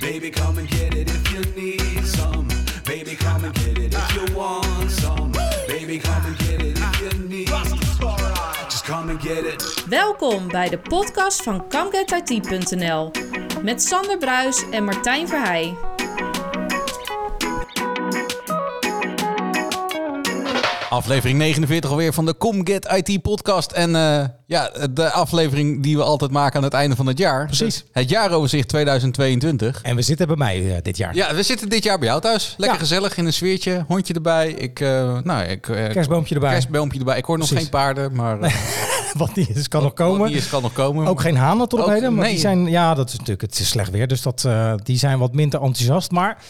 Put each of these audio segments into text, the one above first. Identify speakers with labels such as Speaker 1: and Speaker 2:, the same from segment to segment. Speaker 1: Baby, come and get it if you need some. Baby, come and get it if you want some. Baby, come and get it if you need. Just come and get it.
Speaker 2: Welkom bij de podcast van ComeGetIT.nl met Sander Bruis en Martijn Verheij.
Speaker 3: Aflevering 49 alweer van de Come Get IT podcast. En eh, ja, de aflevering die we altijd maken aan het einde van het jaar.
Speaker 4: Precies.
Speaker 3: Het jaaroverzicht 2022.
Speaker 4: En we zitten bij mij eh, dit jaar.
Speaker 3: Ja, we zitten dit jaar bij jou thuis. Lekker
Speaker 4: Ja.
Speaker 3: gezellig in een sfeertje. Hondje erbij. Ik, eh, nou, ik, eh,
Speaker 4: Kerstboompje erbij.
Speaker 3: kerstboompje erbij. Ik hoor nog
Speaker 4: Precies.
Speaker 3: geen paarden, maar eh,
Speaker 4: Wat die is, kan nog
Speaker 3: wat
Speaker 4: komen.
Speaker 3: die is kan nog komen.
Speaker 4: Ook geen hanen tot op
Speaker 3: Ook-
Speaker 4: heden. Maar
Speaker 3: nee.
Speaker 4: die zijn, ja, dat is natuurlijk, het is slecht weer. Dus dat, eh, die zijn wat minder enthousiast. Maar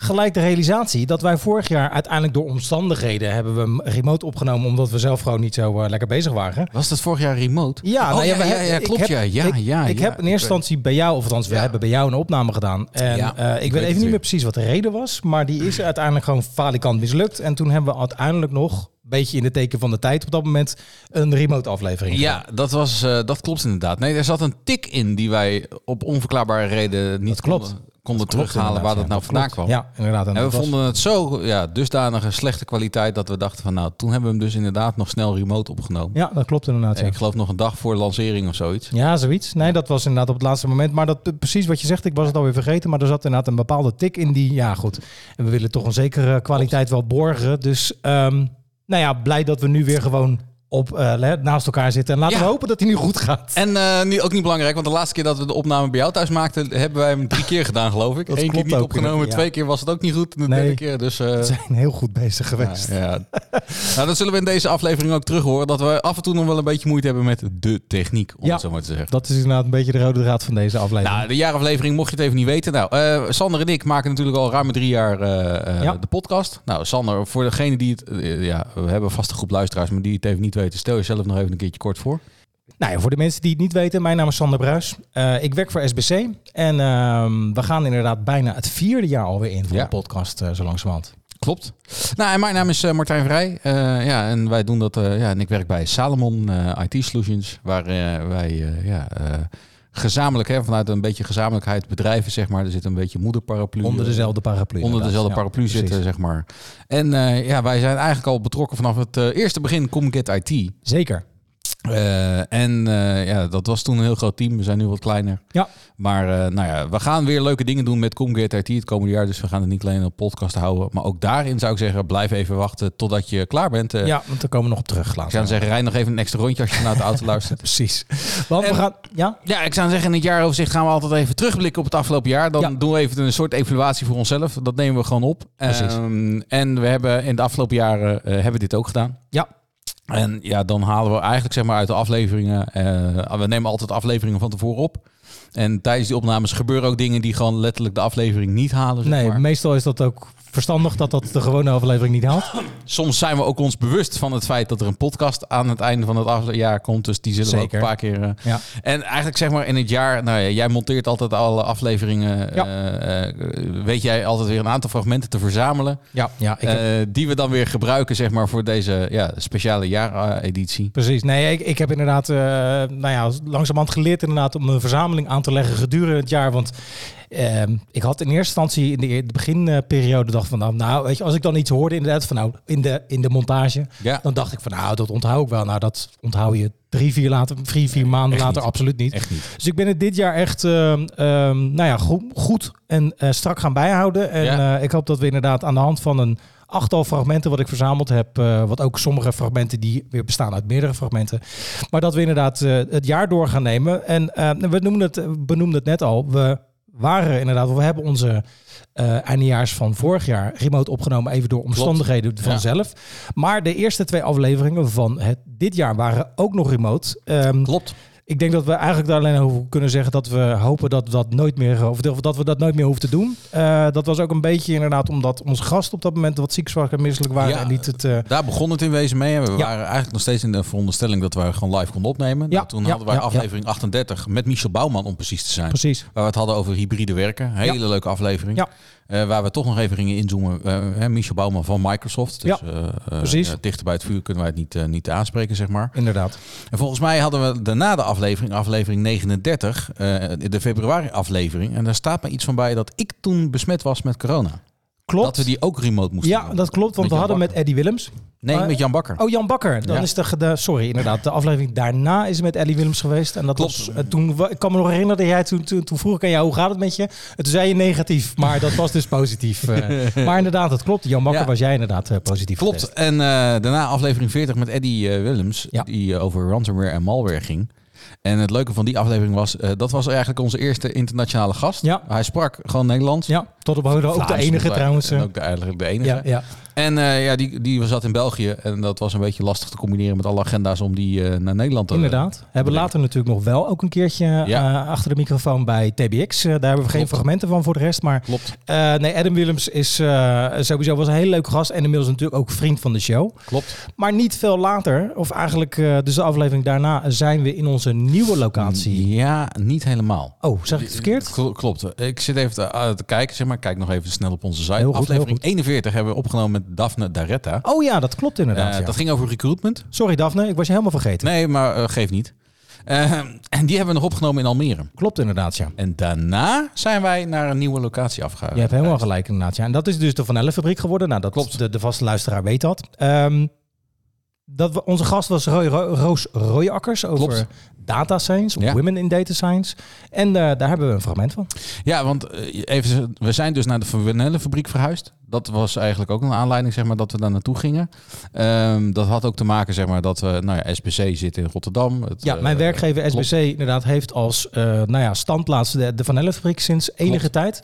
Speaker 4: gelijk de realisatie dat wij vorig jaar uiteindelijk door omstandigheden hebben we hem remote opgenomen. Omdat we zelf gewoon niet zo eh, lekker bezig waren.
Speaker 3: Was dat vorig jaar remote?
Speaker 4: Ja,
Speaker 3: Oh,
Speaker 4: nou ja, we hebben-
Speaker 3: ja,
Speaker 4: ik
Speaker 3: klopt.
Speaker 4: heb-
Speaker 3: ja, ja,
Speaker 4: ik,
Speaker 3: ja,
Speaker 4: Ik
Speaker 3: ja.
Speaker 4: heb in eerste
Speaker 3: weet-
Speaker 4: instantie bij jou, of althans, we
Speaker 3: Ja.
Speaker 4: hebben bij jou een opname gedaan. En
Speaker 3: Ja,
Speaker 4: eh,
Speaker 3: ik
Speaker 4: ik
Speaker 3: weet
Speaker 4: weet
Speaker 3: het
Speaker 4: even niet
Speaker 3: weer.
Speaker 4: meer precies wat de reden was. Maar die is uiteindelijk gewoon falikant mislukt. En toen hebben we uiteindelijk nog, een beetje in het teken van de tijd op dat moment, een remote aflevering. gedaan.
Speaker 3: Ja, dat, was, eh, dat klopt inderdaad. Nee, er zat een tik in die wij op onverklaarbare reden niet
Speaker 4: Dat klopt.
Speaker 3: konden, konden
Speaker 4: Klopt,
Speaker 3: terughalen waar
Speaker 4: inderdaad,
Speaker 3: dat
Speaker 4: ja,
Speaker 3: nou vandaan kwam.
Speaker 4: klopt. Ja, inderdaad. En
Speaker 3: En we
Speaker 4: dat was-
Speaker 3: vonden het zo ja, dusdanige slechte kwaliteit dat we dachten van nou, toen hebben we hem dus inderdaad nog snel remote opgenomen.
Speaker 4: Ja, dat klopt inderdaad.
Speaker 3: Eh,
Speaker 4: Ja.
Speaker 3: Ik geloof nog een dag voor lancering of zoiets.
Speaker 4: Ja, zoiets. Nee, dat was inderdaad op het laatste moment. Maar dat, precies wat je zegt, ik was het alweer vergeten. Maar er zat inderdaad een bepaalde tik in die... Ja, goed. En we willen toch een zekere kwaliteit wel borgen. Dus, ehm, nou ja, blij dat we nu weer gewoon op, eh, le- naast elkaar zitten. En laten
Speaker 3: Ja.
Speaker 4: we hopen dat hij nu goed gaat.
Speaker 3: En eh, nu ook niet belangrijk, want de laatste keer dat we de opname bij jou thuis maakten, hebben wij hem drie keer gedaan, geloof ik.
Speaker 4: Dat
Speaker 3: Eén keer
Speaker 4: klopt
Speaker 3: niet
Speaker 4: ook,
Speaker 3: opgenomen,
Speaker 4: ja.
Speaker 3: twee keer was het ook niet goed. En de
Speaker 4: Nee.
Speaker 3: derde keer, dus... eh,
Speaker 4: We zijn heel goed bezig geweest.
Speaker 3: Ja, ja. nou, dat zullen we in deze aflevering ook terug horen. Dat we af en toe nog wel een beetje moeite hebben met de techniek, om
Speaker 4: Ja.
Speaker 3: het zo maar te zeggen.
Speaker 4: Dat is inderdaad een beetje de rode draad van deze aflevering.
Speaker 3: Nou, de jaaraflevering, mocht je het even niet weten. Nou, eh, Sander en ik maken natuurlijk al ruim drie jaar eh, eh,
Speaker 4: Ja.
Speaker 3: de podcast. Nou, Sander, voor degene die het... eh, ja, we hebben vast een vaste groep luisteraars, maar die het even niet weten. Stel jezelf nog even een keertje kort voor.
Speaker 4: Nou ja, voor de mensen die het niet weten, mijn naam is Sander Bruis. Eh, ik werk voor SBC. En ehm, we gaan inderdaad bijna het vierde jaar alweer in voor
Speaker 3: Ja.
Speaker 4: de podcast, eh, zo langzamerhand.
Speaker 3: Klopt. Nou, en mijn naam is eh, Martijn Vrij. Eh, ja, en wij doen dat... eh, ja, en ik werk bij Salomon eh, IT Solutions, waar eh, wij... eh, ja, eh, gezamenlijk, hè, vanuit een beetje gezamenlijkheid bedrijven, zeg maar. Er zit een beetje moederparaplu.
Speaker 4: Onder
Speaker 3: eh,
Speaker 4: dezelfde paraplu.
Speaker 3: onder
Speaker 4: inderdaad.
Speaker 3: dezelfde
Speaker 4: Ja,
Speaker 3: paraplu
Speaker 4: precies.
Speaker 3: zitten, zeg maar. En eh, ja, wij zijn eigenlijk al betrokken vanaf het eh, eerste begin Comget IT.
Speaker 4: Zeker.
Speaker 3: Eh, en eh, ja, dat was toen een heel groot team. We zijn nu wat kleiner.
Speaker 4: Ja.
Speaker 3: Maar eh, nou ja, we gaan weer leuke dingen doen met Comget IT het komende jaar. Dus we gaan het niet alleen op podcast houden. Maar ook daarin zou ik zeggen, blijf even wachten totdat je klaar bent. Eh,
Speaker 4: ja, want daar komen we nog op terug.
Speaker 3: Ik
Speaker 4: later.
Speaker 3: zou zeggen, rij nog even een extra rondje als je naar de auto luistert.
Speaker 4: Precies. Want
Speaker 3: En-
Speaker 4: we gaan... Ja?
Speaker 3: Ja, ik zou zeggen, in het jaaroverzicht gaan we altijd even terugblikken op het afgelopen jaar. Dan
Speaker 4: Ja.
Speaker 3: doen we even een soort evaluatie voor onszelf. Dat nemen we gewoon op.
Speaker 4: Precies.
Speaker 3: Ehm, en we hebben in de afgelopen jaren eh, hebben we dit ook gedaan.
Speaker 4: Ja.
Speaker 3: En ja, dan halen we eigenlijk zeg maar uit de afleveringen. eh, we nemen altijd afleveringen van tevoren op. En tijdens die opnames gebeuren ook dingen die gewoon letterlijk de aflevering niet halen. Zeg
Speaker 4: Nee,
Speaker 3: maar.
Speaker 4: meestal is dat ook verstandig dat dat de gewone aflevering niet haalt.
Speaker 3: Soms zijn we ook ons bewust van het feit dat er een podcast aan het einde van het afle- jaar komt. Dus die zullen we ook
Speaker 4: Zeker.
Speaker 3: een paar keer. eh,
Speaker 4: Ja.
Speaker 3: En eigenlijk zeg maar in het jaar, nou ja, jij monteert altijd alle afleveringen.
Speaker 4: Ja.
Speaker 3: eh, eh, weet jij altijd weer een aantal fragmenten te verzamelen.
Speaker 4: Ja, ja ik heb-
Speaker 3: eh, die we dan weer gebruiken, zeg maar, voor deze ja, speciale jaareditie.
Speaker 4: Precies. Nee, ik, ik heb inderdaad eh nou ja, langzamerhand geleerd inderdaad om een verzameling aan te leggen gedurende het jaar. Want ehm, ik had in eerste instantie in de, eer- de beginperiode dacht van nou, nou, weet je, als ik dan iets hoorde inderdaad van nou, in de, in de montage,
Speaker 3: Ja.
Speaker 4: dan dacht ik van nou, dat onthoud ik wel. Nou, dat onthoud je drie, vier, later, drie, vier maanden
Speaker 3: echt
Speaker 4: later
Speaker 3: niet.
Speaker 4: absoluut niet.
Speaker 3: Echt niet.
Speaker 4: Dus ik ben het dit jaar echt ehm, ehm, nou ja, goed, goed en eh, strak gaan bijhouden. En
Speaker 3: Ja.
Speaker 4: eh, ik hoop dat we inderdaad aan de hand van een achttal fragmenten wat ik verzameld heb, eh, wat ook sommige fragmenten die weer bestaan uit meerdere fragmenten, maar dat we inderdaad eh, het jaar door gaan nemen. En eh, we noemden het, benoemden het net al, we waren inderdaad, we hebben onze eh eindejaars van vorig jaar remote opgenomen, even door omstandigheden vanzelf. Maar de eerste twee afleveringen van het, dit jaar waren ook nog remote. Ehm,
Speaker 3: Klopt.
Speaker 4: ik denk dat we eigenlijk daar alleen over kunnen zeggen dat we hopen dat we dat nooit meer, of dat we dat nooit meer hoeven te doen. Eh, dat was ook een beetje inderdaad omdat onze gasten op dat moment wat ziek, zwak en misselijk waren
Speaker 3: Ja.
Speaker 4: en niet het. eh,
Speaker 3: Daar begon het in wezen mee. We
Speaker 4: Ja.
Speaker 3: waren eigenlijk nog steeds in de veronderstelling dat we gewoon live konden opnemen.
Speaker 4: Ja,
Speaker 3: Nou, toen
Speaker 4: ja,
Speaker 3: hadden wij
Speaker 4: ja,
Speaker 3: aflevering 38 met Michel Bouwman, om precies te zijn.
Speaker 4: precies.
Speaker 3: Waar we het hadden over hybride werken. Hele leuke aflevering.
Speaker 4: Ja.
Speaker 3: eh, waar we toch nog even gingen inzoomen. eh, hè, Michel Bouwman van Microsoft. Dus,
Speaker 4: Ja,
Speaker 3: eh, eh,
Speaker 4: precies.
Speaker 3: eh, dichter bij het vuur kunnen wij het niet, eh, niet aanspreken, zeg maar.
Speaker 4: Inderdaad.
Speaker 3: En volgens mij hadden we daarna de aflevering, aflevering 39, eh, de februari-aflevering. En daar staat me iets van bij dat ik toen besmet was met corona.
Speaker 4: Klopt.
Speaker 3: Dat we die ook remote moesten
Speaker 4: ja,
Speaker 3: doen.
Speaker 4: dat klopt,
Speaker 3: Met
Speaker 4: want we
Speaker 3: Jan
Speaker 4: hadden met
Speaker 3: Bakker.
Speaker 4: Eddie Willems.
Speaker 3: Nee,
Speaker 4: maar-
Speaker 3: met Jan Bakker.
Speaker 4: Oh, Jan Bakker. Dan
Speaker 3: Ja.
Speaker 4: is de, de- Sorry, inderdaad. De aflevering daarna is met Ellie Willems geweest. En dat
Speaker 3: Klopt.
Speaker 4: was... eh, toen, wa- ik kan me nog herinneren dat jij toen, toen, toen vroeg ik aan jou, hoe gaat het met je? En toen zei je negatief, maar dat was dus positief. eh. maar inderdaad, dat klopt. Jan Bakker
Speaker 3: Ja.
Speaker 4: was jij inderdaad eh, positief
Speaker 3: Klopt.
Speaker 4: getest.
Speaker 3: En eh, daarna aflevering 40 met Eddie eh, Willems,
Speaker 4: Ja.
Speaker 3: die eh, over ransomware en malware ging. En het leuke van die aflevering was, eh, dat was eigenlijk onze eerste internationale gast.
Speaker 4: Ja.
Speaker 3: Hij sprak gewoon Nederlands.
Speaker 4: Ja, tot op heden ook de
Speaker 3: Vlaams,
Speaker 4: enige
Speaker 3: volgens mij.
Speaker 4: trouwens. eh.
Speaker 3: En ook de, eigenlijk de enige.
Speaker 4: Ja, ja.
Speaker 3: En eh, ja, die, die zat in België. En dat was een beetje lastig te combineren met alle agenda's om die eh, naar Nederland te
Speaker 4: Inderdaad. Hebben
Speaker 3: Ja.
Speaker 4: later natuurlijk nog wel ook een keertje
Speaker 3: Ja.
Speaker 4: eh, achter de microfoon bij TBX. Eh, daar hebben we geen
Speaker 3: Klopt.
Speaker 4: fragmenten van voor de rest. Maar
Speaker 3: Klopt,
Speaker 4: eh, nee, Adam Willems is eh, sowieso was een hele leuke gast. En inmiddels natuurlijk ook vriend van de show.
Speaker 3: klopt.
Speaker 4: Maar niet veel later, of eigenlijk eh, dus de aflevering daarna, zijn we in onze nieuwe locatie.
Speaker 3: Ja, niet helemaal.
Speaker 4: Oh, zeg ik het verkeerd?
Speaker 3: Kl- Klopt. Ik zit even te, eh, te kijken, zeg maar. Kijk nog even snel op onze site.
Speaker 4: Heel goed, heel
Speaker 3: Aflevering
Speaker 4: goed.
Speaker 3: 41 hebben we opgenomen met Daphne Daretta.
Speaker 4: Oh ja, dat klopt inderdaad.
Speaker 3: Eh,
Speaker 4: ja.
Speaker 3: Dat ging over recruitment.
Speaker 4: Sorry Daphne, ik was je helemaal vergeten.
Speaker 3: Nee, maar eh, geeft niet. Eh, en die hebben we nog opgenomen in Almere.
Speaker 4: Klopt inderdaad, ja.
Speaker 3: En daarna zijn wij naar een nieuwe locatie afgegaan.
Speaker 4: Je hebt helemaal gelijk inderdaad. Ja. En dat is dus de Van Ellenfabriek geworden. Nou, dat
Speaker 3: Klopt.
Speaker 4: klopt. De, de vaste luisteraar weet dat. Ehm, dat we, onze gast was Roy, Ro- Roos Rooijakkers over
Speaker 3: Klopt.
Speaker 4: data science,
Speaker 3: Ja.
Speaker 4: women in data science. En eh, daar hebben we een fragment van.
Speaker 3: Ja, want eh, even, we zijn dus naar de vanillefabriek verhuisd. Dat was eigenlijk ook een aanleiding zeg maar, dat we daar naartoe gingen. Ehm, dat had ook te maken zeg maar, dat we, nou ja, SBC zit in Rotterdam. Het,
Speaker 4: Ja,
Speaker 3: eh,
Speaker 4: mijn werkgever
Speaker 3: klopt.
Speaker 4: SBC inderdaad heeft als eh, nou ja, standplaats de, de Van Ellenfabriek sinds enige tijd.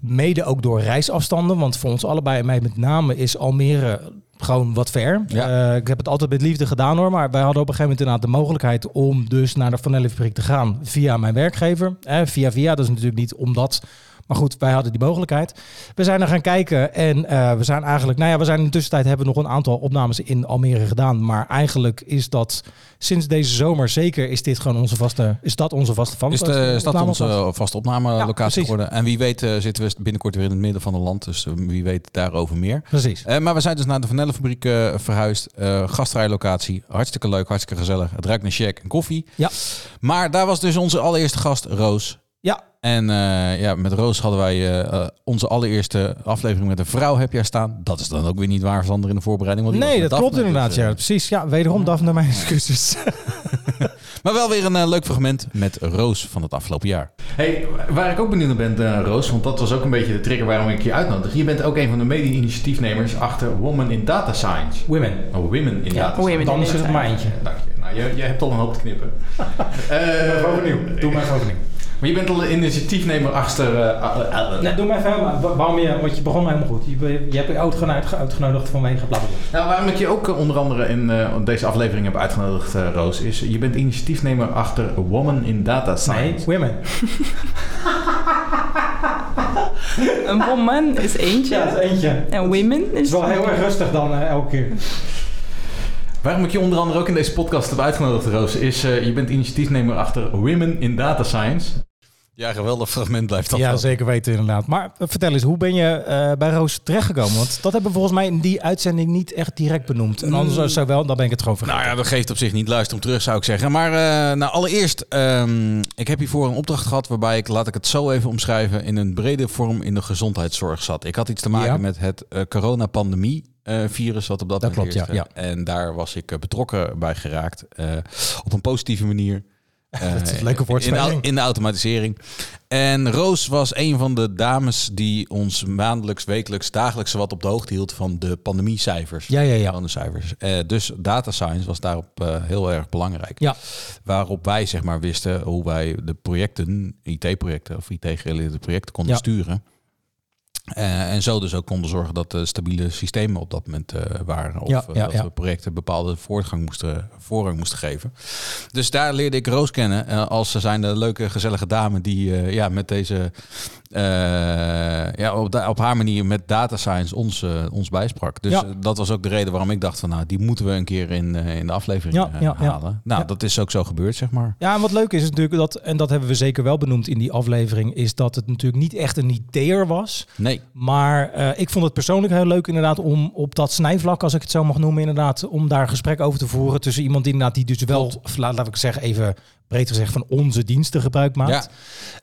Speaker 4: Mede ook door reisafstanden, want voor ons allebei en mij met name is Almere gewoon wat ver.
Speaker 3: Ja.
Speaker 4: Eh, ik heb het altijd met liefde gedaan hoor, maar wij hadden op een gegeven moment inderdaad de mogelijkheid om dus naar de Van Ellenfabriek te gaan via mijn werkgever. Eh, via via, dat is natuurlijk niet omdat... Maar goed, wij hadden die mogelijkheid. We zijn er gaan kijken en eh, we zijn eigenlijk... Nou ja, we zijn in de tussentijd hebben we nog een aantal opnames in Almere gedaan. Maar eigenlijk is dat sinds deze zomer zeker is dit gewoon onze vaste... Is dat onze vaste van?
Speaker 3: Is, de, is dat
Speaker 4: opname-
Speaker 3: onze vaste
Speaker 4: Ja,
Speaker 3: opnamelocatie
Speaker 4: precies.
Speaker 3: geworden? En wie weet eh, zitten we binnenkort weer in het midden van het land. Dus eh, wie weet daarover meer.
Speaker 4: Precies.
Speaker 3: Eh, maar we zijn dus naar de Vanellenfabriek eh verhuisd. Eh gastrijlocatie. Hartstikke leuk, hartstikke gezellig. Het ruikt naar shack en koffie.
Speaker 4: Ja.
Speaker 3: Maar daar was dus onze allereerste gast, Roos.
Speaker 4: Ja,
Speaker 3: En eh, ja, met Roos hadden wij eh, eh, onze allereerste aflevering met een vrouw heb jij staan. Dat is dan ook weer niet waar, Sander, in de voorbereiding. Want die
Speaker 4: nee,
Speaker 3: was
Speaker 4: dat
Speaker 3: met
Speaker 4: klopt
Speaker 3: Daphne,
Speaker 4: inderdaad.
Speaker 3: dus, eh,
Speaker 4: ja, precies. Ja, wederom Daphne, mijn excuses.
Speaker 3: Maar wel weer een eh, leuk fragment met Roos van het afgelopen jaar. Hey, waar ik ook benieuwd naar ben, eh, Roos, want dat was ook een beetje de trigger waarom ik je uitnodig. Je bent ook een van de mede-initiatiefnemers achter Women in Data Science.
Speaker 4: Women.
Speaker 3: Oh, Women in Data Science.
Speaker 5: women.
Speaker 4: Dan is het maar eentje.
Speaker 3: Dank je. Nou, jij, jij hebt al een hoop te knippen. Eh,
Speaker 4: Doe maar gewoon
Speaker 3: Maar je bent al een initiatiefnemer achter... eh, a- a- a-
Speaker 4: doe maar even, waarom je, want je begon helemaal goed. Je, je hebt je uitgenodigd vanwege bla
Speaker 3: Nou, waarom ik je ook eh, onder andere in eh, deze aflevering heb uitgenodigd, eh, Roos, is je bent initiatiefnemer achter Woman in Data
Speaker 4: Nee,
Speaker 3: Science.
Speaker 4: women.
Speaker 5: Een woman is eentje.
Speaker 4: Ja, dat is eentje. Het
Speaker 5: En women
Speaker 4: is
Speaker 5: is...
Speaker 4: wel heel erg rustig dan eh, elke keer.
Speaker 3: Waarom ik je onder andere ook in deze podcast heb uitgenodigd, Roos, is eh, je bent initiatiefnemer achter Women in Data Science. Ja, geweldig fragment blijft
Speaker 4: ja, zeker weten inderdaad. Maar eh, vertel eens, hoe ben je eh, bij Roos terechtgekomen? Want dat hebben we volgens mij in die uitzending niet echt direct benoemd. En
Speaker 3: Mm.
Speaker 4: anders zou wel, dan ben ik het gewoon vergeten.
Speaker 3: Nou ja, dat geeft op zich niet. Luister om terug, zou ik zeggen. Maar eh, nou, allereerst, ehm, ik heb hiervoor een opdracht gehad waarbij ik, laat ik het zo even omschrijven, in een brede vorm in de gezondheidszorg zat. Ik had iets te maken
Speaker 4: Ja.
Speaker 3: met het eh coronapandemie. eh, virus wat op dat,
Speaker 4: Dat
Speaker 3: moment
Speaker 4: klopt, ja,
Speaker 3: heerste. En daar was ik eh, betrokken bij geraakt. eh, op een positieve manier.
Speaker 4: Dat is een
Speaker 3: Eh,
Speaker 4: leuke
Speaker 3: in de,
Speaker 4: woordspeling.
Speaker 3: au- in de automatisering. En Roos was een van de dames die ons maandelijks, wekelijks, dagelijks wat op de hoogte hield van de pandemiecijfers.
Speaker 4: Ja, ja, ja.
Speaker 3: Van de cijfers. Eh, dus data science was daarop eh, heel erg belangrijk.
Speaker 4: Ja.
Speaker 3: Waarop wij zeg maar wisten hoe wij de projecten, IT-projecten of IT-gerelateerde projecten konden
Speaker 4: Ja.
Speaker 3: sturen. Eh, en zo dus ook konden zorgen dat de stabiele systemen op dat moment eh, waren. Of
Speaker 4: Ja,
Speaker 3: eh,
Speaker 4: ja,
Speaker 3: dat
Speaker 4: ja.
Speaker 3: we projecten bepaalde voortgang moesten, voorrang moesten geven. Dus daar leerde ik Roos kennen eh, als ze zijn de leuke, gezellige dame die eh, ja, met deze eh, ja, op, da- op haar manier met data science ons, eh, ons bijsprak. Dus
Speaker 4: Ja.
Speaker 3: eh, dat was ook de reden waarom ik dacht van nou, die moeten we een keer in, eh, in de aflevering
Speaker 4: Ja,
Speaker 3: eh,
Speaker 4: ja, ja.
Speaker 3: halen. Nou,
Speaker 4: Ja.
Speaker 3: dat is ook zo gebeurd, zeg maar.
Speaker 4: Ja, en wat leuk is, is natuurlijk dat, en dat hebben we zeker wel benoemd in die aflevering, is dat het natuurlijk niet echt een IT'er was.
Speaker 3: Nee.
Speaker 4: Maar eh, ik vond het persoonlijk heel leuk inderdaad om op dat snijvlak, als ik het zo mag noemen, inderdaad, om daar een gesprek over te voeren tussen iemand die inderdaad die dus wel, laat, laat ik zeggen, even breed gezegd, van onze diensten gebruik maakt.
Speaker 3: Ja,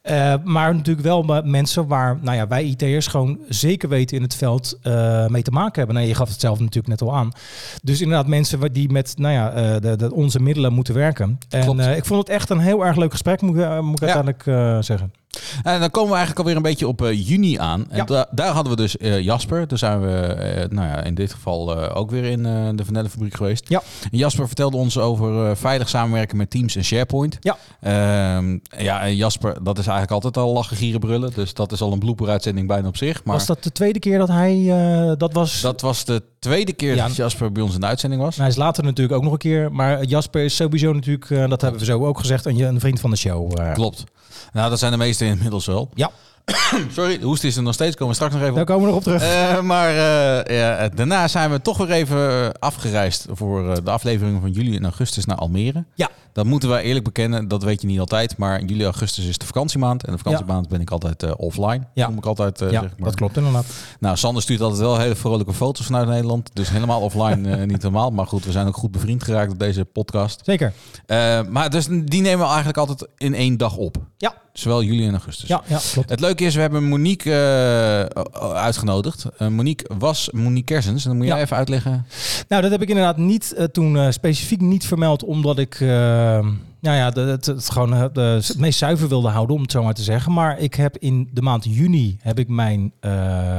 Speaker 4: Eh, maar natuurlijk wel met mensen waar nou ja, wij IT'ers gewoon zeker weten in het veld eh, mee te maken hebben. Nou, je gaf het zelf natuurlijk net al aan. Dus inderdaad mensen waar- die met nou ja, eh, de, de- onze middelen moeten werken. En
Speaker 3: Klopt.
Speaker 4: eh, ik vond het echt een heel erg leuk gesprek, moet, ik- eh, moet ik
Speaker 3: Ja.
Speaker 4: uiteindelijk eh, zeggen.
Speaker 3: en dan komen we eigenlijk alweer een beetje op eh, juni aan. En
Speaker 4: Ja.
Speaker 3: da- daar hadden we dus eh, Jasper. Daar zijn we eh, nou ja, in dit geval eh, ook weer in eh, de Vanellenfabriek geweest.
Speaker 4: Ja.
Speaker 3: En Jasper vertelde ons over eh, veilig samenwerken met Teams en SharePoint.
Speaker 4: Ja.
Speaker 3: Ehm, ja, en Jasper, dat is eigenlijk altijd al lachen, gieren, brullen. Dus dat is al een blooper-uitzending bijna op zich. Maar
Speaker 4: Was dat de tweede keer dat hij eh, dat was?
Speaker 3: dat was de tweede keer
Speaker 4: Ja.
Speaker 3: dat Jasper bij ons in de uitzending was.
Speaker 4: Nou, hij is later natuurlijk ook nog een keer. Maar Jasper is sowieso natuurlijk, eh, dat hebben we zo ook gezegd, een, een vriend van de show. eh.
Speaker 3: Klopt. Nou, dat zijn de meesten inmiddels wel.
Speaker 4: Ja.
Speaker 3: Sorry, de hoest is er nog steeds. Komen we straks nog even op.
Speaker 4: Daar komen we nog op terug.
Speaker 3: Eh, maar eh, ja, daarna zijn we toch weer even eh, afgereisd voor eh, de afleveringen van juli en augustus naar Almere.
Speaker 4: Ja.
Speaker 3: Dat moeten we eerlijk bekennen, dat weet je niet altijd. Maar juli en augustus is de vakantiemaand. En de vakantiemaand ben ik altijd eh, offline.
Speaker 4: Ja.
Speaker 3: Noem ik altijd, eh,
Speaker 4: ja,
Speaker 3: zeg maar.
Speaker 4: dat klopt inderdaad.
Speaker 3: Nou, Sander stuurt altijd wel hele vrolijke foto's vanuit Nederland. Dus helemaal offline eh, niet normaal. Maar goed, we zijn ook goed bevriend geraakt op deze podcast.
Speaker 4: Zeker.
Speaker 3: Eh, maar dus die nemen we eigenlijk altijd in één dag op.
Speaker 4: Ja.
Speaker 3: Zowel juli en augustus.
Speaker 4: Ja, ja klopt.
Speaker 3: Het leuke is, we hebben Monique eh, uitgenodigd. Eh, Monique was Monique Kersens. En dan moet jij
Speaker 4: Ja.
Speaker 3: even uitleggen.
Speaker 4: Nou, dat heb ik inderdaad niet eh, toen eh, specifiek niet vermeld, omdat ik eh, nou ja, de- het, het gewoon eh, de- het meest zuiver wilde houden, om het zo maar te zeggen. Maar ik heb in de maand juni heb ik mijn eh,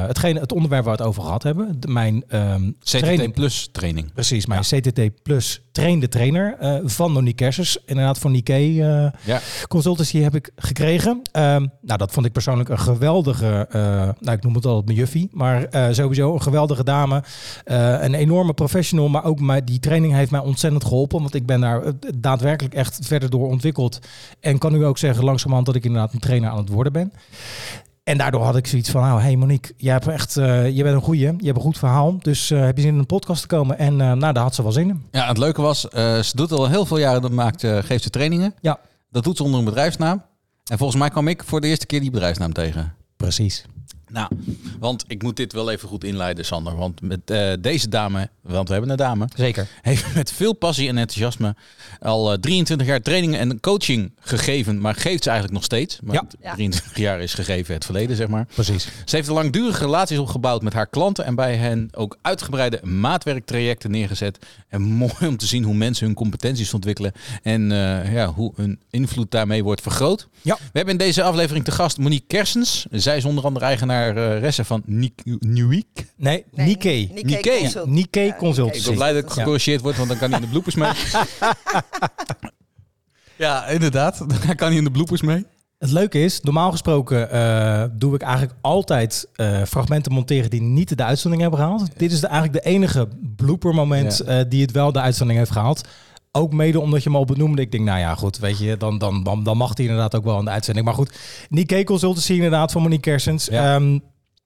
Speaker 4: hetgeen, het onderwerp waar we het over gehad hebben, de- mijn ehm
Speaker 3: CTT
Speaker 4: training.
Speaker 3: Plus training.
Speaker 4: Precies, mijn CTT Plus trainde trainer eh, van Nonique Kersers. Inderdaad, van Nike eh,
Speaker 3: Ja.
Speaker 4: consultancy heb ik gekregen. Ehm, nou, dat vond ik persoonlijk een geweldige, eh, nou, ik noem het altijd mijn juffie, maar eh, sowieso een geweldige dame. Eh, een enorme professional, maar ook mij, die training heeft mij ontzettend geholpen, want ik ben daar eh, daadwerkelijk echt verder door ontwikkeld. En kan u ook zeggen langzamerhand dat ik inderdaad een trainer aan het worden ben. En daardoor had ik zoiets van, nou, hey Monique, jij hebt echt, eh, je bent een goeie, je hebt een goed verhaal, dus eh, heb je zin in een podcast te komen? En eh, nou, daar had ze wel zin in.
Speaker 3: ja, het leuke was, eh, ze doet al heel veel jaren, dat maakt, eh, geeft ze trainingen.
Speaker 4: Ja.
Speaker 3: Dat doet ze onder een bedrijfsnaam. En volgens mij kwam ik voor de eerste keer die bedrijfsnaam tegen.
Speaker 4: Precies.
Speaker 3: Nou, want ik moet dit wel even goed inleiden, Sander. Want met eh, deze dame, want we hebben een dame,
Speaker 4: Zeker.
Speaker 3: heeft met veel passie en enthousiasme al eh, 23 jaar trainingen en coaching gegeven. Maar geeft ze eigenlijk nog steeds. Maar
Speaker 4: Ja.
Speaker 5: Ja.
Speaker 3: 23 jaar is gegeven het verleden, zeg maar.
Speaker 4: Precies.
Speaker 3: Ze heeft langdurige relaties opgebouwd met haar klanten en bij hen ook uitgebreide maatwerktrajecten neergezet. En mooi om te zien hoe mensen hun competenties ontwikkelen en eh, ja, hoe hun invloed daarmee wordt vergroot.
Speaker 4: Ja.
Speaker 3: We hebben in deze aflevering te gast Monique Kersens. Zij is onder andere eigenaar eh resse van Nieuwiek.
Speaker 4: Nee,
Speaker 6: Nee,
Speaker 4: Nike.
Speaker 3: Nike, ja.
Speaker 6: Consult.
Speaker 4: Nike
Speaker 6: Ja,
Speaker 4: Consultancy.
Speaker 3: Ik ben blij dat ik
Speaker 4: Ja.
Speaker 3: gecorrigeerd word, want dan kan hij in de bloepers mee. Ja, inderdaad. Dan kan hij in de bloepers mee.
Speaker 4: Het leuke is, normaal gesproken eh, doe ik eigenlijk altijd eh, fragmenten monteren die niet de uitzending hebben gehaald. Dit is de, eigenlijk de enige blooper moment
Speaker 3: Ja.
Speaker 4: eh, die het wel de uitzending heeft gehaald. Ook mede omdat je hem al benoemde. Ik denk, nou ja, goed, weet je, dan, dan, dan, dan mag hij inderdaad ook wel in de uitzending. Maar goed, Nike Consultancy inderdaad van Monique Kersens.
Speaker 3: Ja.
Speaker 4: Ehm,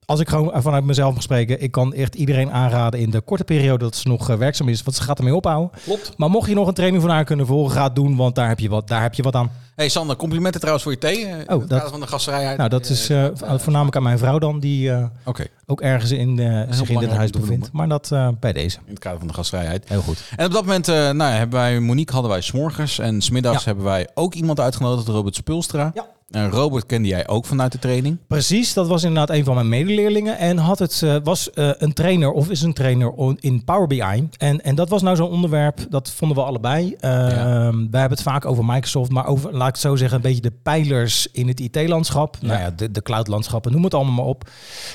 Speaker 4: als ik gewoon vanuit mezelf mag spreken, ik kan echt iedereen aanraden in de korte periode dat ze nog eh, werkzaam is, want ze gaat ermee ophouden.
Speaker 3: Klopt.
Speaker 4: Maar mocht je nog een training van haar kunnen volgen, ga het doen, want daar heb je wat, daar heb je wat aan.
Speaker 3: Hey Sander, complimenten trouwens voor je thee. eh, in het
Speaker 4: dat-
Speaker 3: kader van de gastvrijheid.
Speaker 4: Nou, dat is eh, voornamelijk aan mijn vrouw dan, die eh,
Speaker 3: Oké,
Speaker 4: ook ergens in, eh, zich in dit
Speaker 3: belangrijk
Speaker 4: huis
Speaker 3: om te
Speaker 4: bevindt. Maar dat eh, bij deze.
Speaker 3: in het kader van de gastvrijheid.
Speaker 4: Heel goed.
Speaker 3: En op dat moment, eh, nou, ja, hebben wij Monique hadden wij s'morgens. En smiddags
Speaker 4: Ja.
Speaker 3: hebben wij ook iemand uitgenodigd, Robert Spulstra.
Speaker 4: Ja.
Speaker 3: En Robert kende jij ook vanuit de training.
Speaker 4: Precies, dat was inderdaad een van mijn medeleerlingen. En had het, eh, was eh, een trainer of is een trainer on- in Power BI. En, en dat was nou zo'n onderwerp, dat vonden we allebei. Eh, Wij hebben het vaak over Microsoft, maar over, laat ik het zo zeggen, een beetje de pijlers in het IT-landschap. Nou ja, de, de cloud-landschappen, noem het allemaal maar op.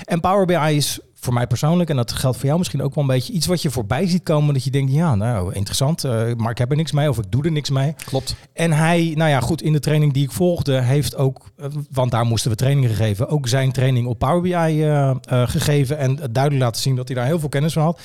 Speaker 4: En Power BI is voor mij persoonlijk, en dat geldt voor jou misschien ook wel een beetje, iets wat je voorbij ziet komen dat je denkt, ja, nou, interessant, eh, maar ik heb er niks mee of ik doe er niks mee.
Speaker 3: Klopt.
Speaker 4: En hij, nou ja, goed, in de training die ik volgde, heeft ook, eh, want daar moesten we trainingen geven, ook zijn training op Power BI eh, eh, gegeven en duidelijk laten zien dat hij daar heel veel kennis van had.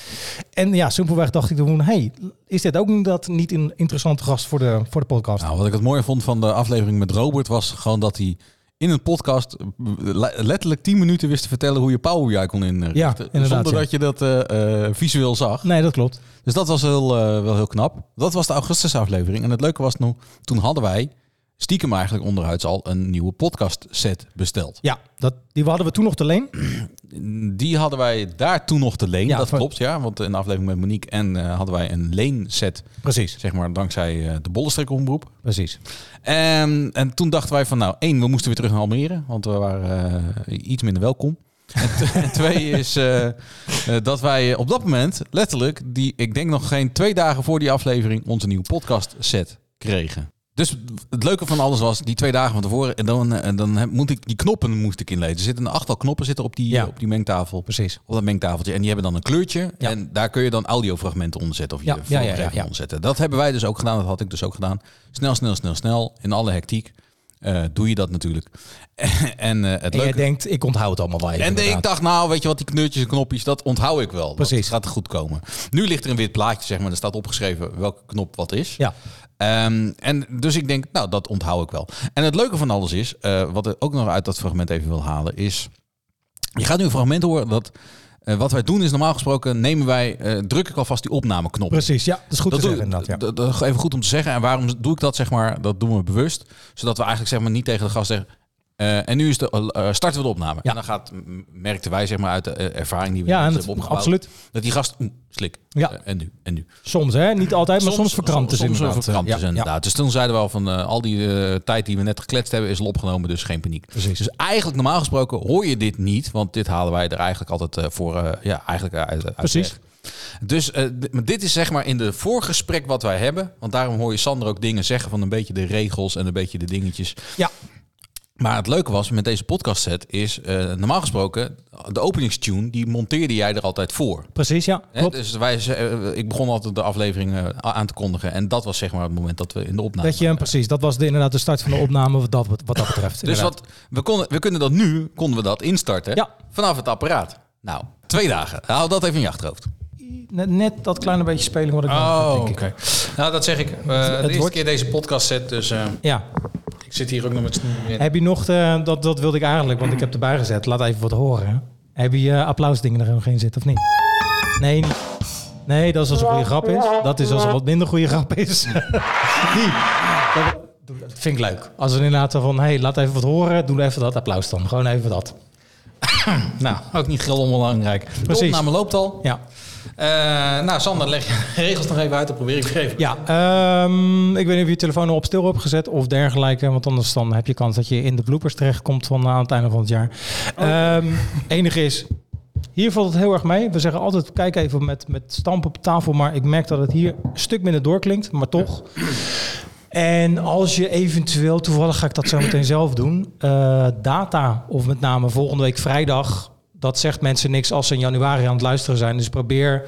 Speaker 4: En ja, simpelweg dacht ik toen, hey, is dit ook niet, dat, niet een interessante gast voor de, voor de podcast?
Speaker 3: Nou, wat ik het mooie vond van de aflevering met Robert was gewoon dat hij in een podcast le- letterlijk 10 minuten wist te vertellen hoe je Power BI kon
Speaker 4: Ja,
Speaker 3: inrichten. Dus
Speaker 4: inderdaad,
Speaker 3: zonder
Speaker 4: ja.
Speaker 3: dat je dat eh, eh, visueel zag.
Speaker 4: Nee, dat klopt.
Speaker 3: Dus dat was heel, eh, wel heel knap. Dat was de augustusaflevering. En het leuke was nog, toen hadden wij stiekem eigenlijk onderhuids al een nieuwe podcast set besteld.
Speaker 4: Ja, dat, die hadden we toen nog te leen.
Speaker 3: Die hadden wij daar toen nog te leen.
Speaker 4: Ja,
Speaker 3: dat
Speaker 4: van-
Speaker 3: klopt, ja. Want in de aflevering met Monique en eh, hadden wij een leenset,
Speaker 4: Precies,
Speaker 3: zeg maar, dankzij eh, de bollenstrekomroep.
Speaker 4: precies.
Speaker 3: En, Ehm, en toen dachten wij van, nou, één, we moesten weer terug naar Almere, want we waren eh, iets minder welkom. En, t- en twee is eh, eh, dat wij op dat moment letterlijk, die, ik denk nog geen twee dagen voor die aflevering, onze nieuwe podcast set kregen. Dus het leuke van alles was, die twee dagen van tevoren, en dan, eh, en dan heb- moet ik die knoppen moest ik inlezen. Er zitten een aantal knoppen zitten op die,
Speaker 4: Ja.
Speaker 3: op die mengtafel.
Speaker 4: Precies.
Speaker 3: Op dat mengtafeltje. En die hebben dan een kleurtje.
Speaker 4: Ja.
Speaker 3: En daar kun je dan audiofragmenten onderzetten. Of je
Speaker 4: Ja,
Speaker 3: ja,
Speaker 4: ja, ja,
Speaker 3: vormgeving
Speaker 4: ja, ja.
Speaker 3: onderzetten. eh, Dat hebben wij dus ook gedaan. Dat had ik dus ook gedaan. Snel, snel, snel, snel. In alle hectiek eh, doe je dat natuurlijk. en eh, het
Speaker 4: En jij
Speaker 3: leuke...
Speaker 4: denkt, ik onthoud het allemaal wel even.
Speaker 3: En ik
Speaker 4: inderdaad.
Speaker 3: dacht, nou, weet je wat, die knurtjes en knopjes, dat onthoud ik wel.
Speaker 4: Precies.
Speaker 3: Dat gaat goed komen. Nu ligt er een wit plaatje, zeg maar. Er staat opgeschreven welke knop wat is.
Speaker 4: Ja,
Speaker 3: Ehm, en dus ik denk, nou, dat onthoud ik wel. En het leuke van alles is, eh, wat ik ook nog uit dat fragment even wil halen, is... Je gaat nu een fragment horen dat... eh, wat wij doen is normaal gesproken nemen wij, eh, druk ik alvast die opnameknop.
Speaker 4: precies. Ja, dat is goed
Speaker 3: Dat
Speaker 4: te
Speaker 3: doe
Speaker 4: zeggen inderdaad. Ja.
Speaker 3: dat- dat- even goed om te zeggen. En waarom doe ik dat, zeg maar? Dat doen we bewust. Zodat we eigenlijk zeg maar, niet tegen de gast zeggen... eh, en nu is de, eh, starten we de opname.
Speaker 4: Ja.
Speaker 3: En dan gaat, m- merkten wij zeg maar, uit de eh, ervaring die we
Speaker 4: ja, en
Speaker 3: hebben
Speaker 4: het,
Speaker 3: opgebouwd...
Speaker 4: absoluut.
Speaker 3: dat die gast, oeh, slik.
Speaker 4: Ja.
Speaker 3: Eh, en nu, en nu.
Speaker 4: Soms, hè? Niet altijd, maar soms, verkrampt is
Speaker 3: soms
Speaker 4: inderdaad.
Speaker 3: verkrampt is
Speaker 4: Ja,
Speaker 3: inderdaad. Dus toen zeiden we al van eh, al die eh, tijd die we net gekletst hebben is al opgenomen, dus geen paniek.
Speaker 4: Precies.
Speaker 3: Dus eigenlijk normaal gesproken hoor je dit niet, want dit halen wij er eigenlijk altijd eh, voor, eh, ja, eigenlijk uit. uit
Speaker 4: Precies.
Speaker 3: weg. Dus eh, d- maar dit is zeg maar in de voorgesprek wat wij hebben, want daarom hoor je Sander ook dingen zeggen van een beetje de regels en een beetje de dingetjes.
Speaker 4: Ja.
Speaker 3: Maar het leuke was met deze podcast set is eh, normaal gesproken de openingstune die monteerde jij er altijd voor.
Speaker 4: Precies, ja.
Speaker 3: Hè,
Speaker 4: Klopt.
Speaker 3: dus wij, ze- eh, ik begon altijd de aflevering eh, a- aan te kondigen. En dat was zeg maar het moment dat we in de opname.
Speaker 4: Dat je hem precies, dat was de, inderdaad de start van de opname wat dat, wat dat betreft.
Speaker 3: dus
Speaker 4: inderdaad.
Speaker 3: wat, we, konden, we kunnen dat nu, konden we dat instarten
Speaker 4: Ja.
Speaker 3: vanaf het apparaat. Nou, twee dagen. Hou dat even in je
Speaker 4: Oh,
Speaker 3: achterhoofd.
Speaker 4: net, net dat kleine beetje speling wat ik
Speaker 3: Oh,
Speaker 4: nodig heb, denk ik.
Speaker 3: Nou, dat zeg ik. de
Speaker 4: eerste wordt-
Speaker 3: keer deze podcast set, dus
Speaker 4: Ja.
Speaker 3: ik zit hier ook nog met...
Speaker 4: Heb je nog, de, dat, dat wilde ik eigenlijk, want ik heb erbij gezet. Laat even wat horen. hè. Heb je eh, applausdingen er nog in zitten of niet? Nee, niet. Nee, dat is als een goede grap is. Dat is als een wat minder goede grap is. Die. Dat, dat vind ik leuk. Als we inderdaad zo van, hé, hey, laat even wat horen. Doe even dat applaus dan. Gewoon even dat.
Speaker 3: Nou, ook niet heel onbelangrijk. Precies. De
Speaker 4: Precies.
Speaker 3: opname loopt al.
Speaker 4: Ja.
Speaker 3: Eh, nou, Sander, leg je regels nog even uit. Dan probeer ik weer even.
Speaker 4: Ja, ehm, ik weet niet of je telefoon al op stil hebt gezet of dergelijke. Want anders dan heb je kans dat je in de bloopers terechtkomt van eh, aan het einde van het jaar. Ehm enige is, hier valt het heel erg mee. We zeggen altijd, kijk even met, met stamp op tafel. Maar ik merk dat het hier een stuk minder doorklinkt, maar toch. En als je eventueel, toevallig ga ik dat zo meteen zelf doen, eh, data of met name volgende week vrijdag, dat zegt mensen niks als ze in januari aan het luisteren zijn. Dus probeer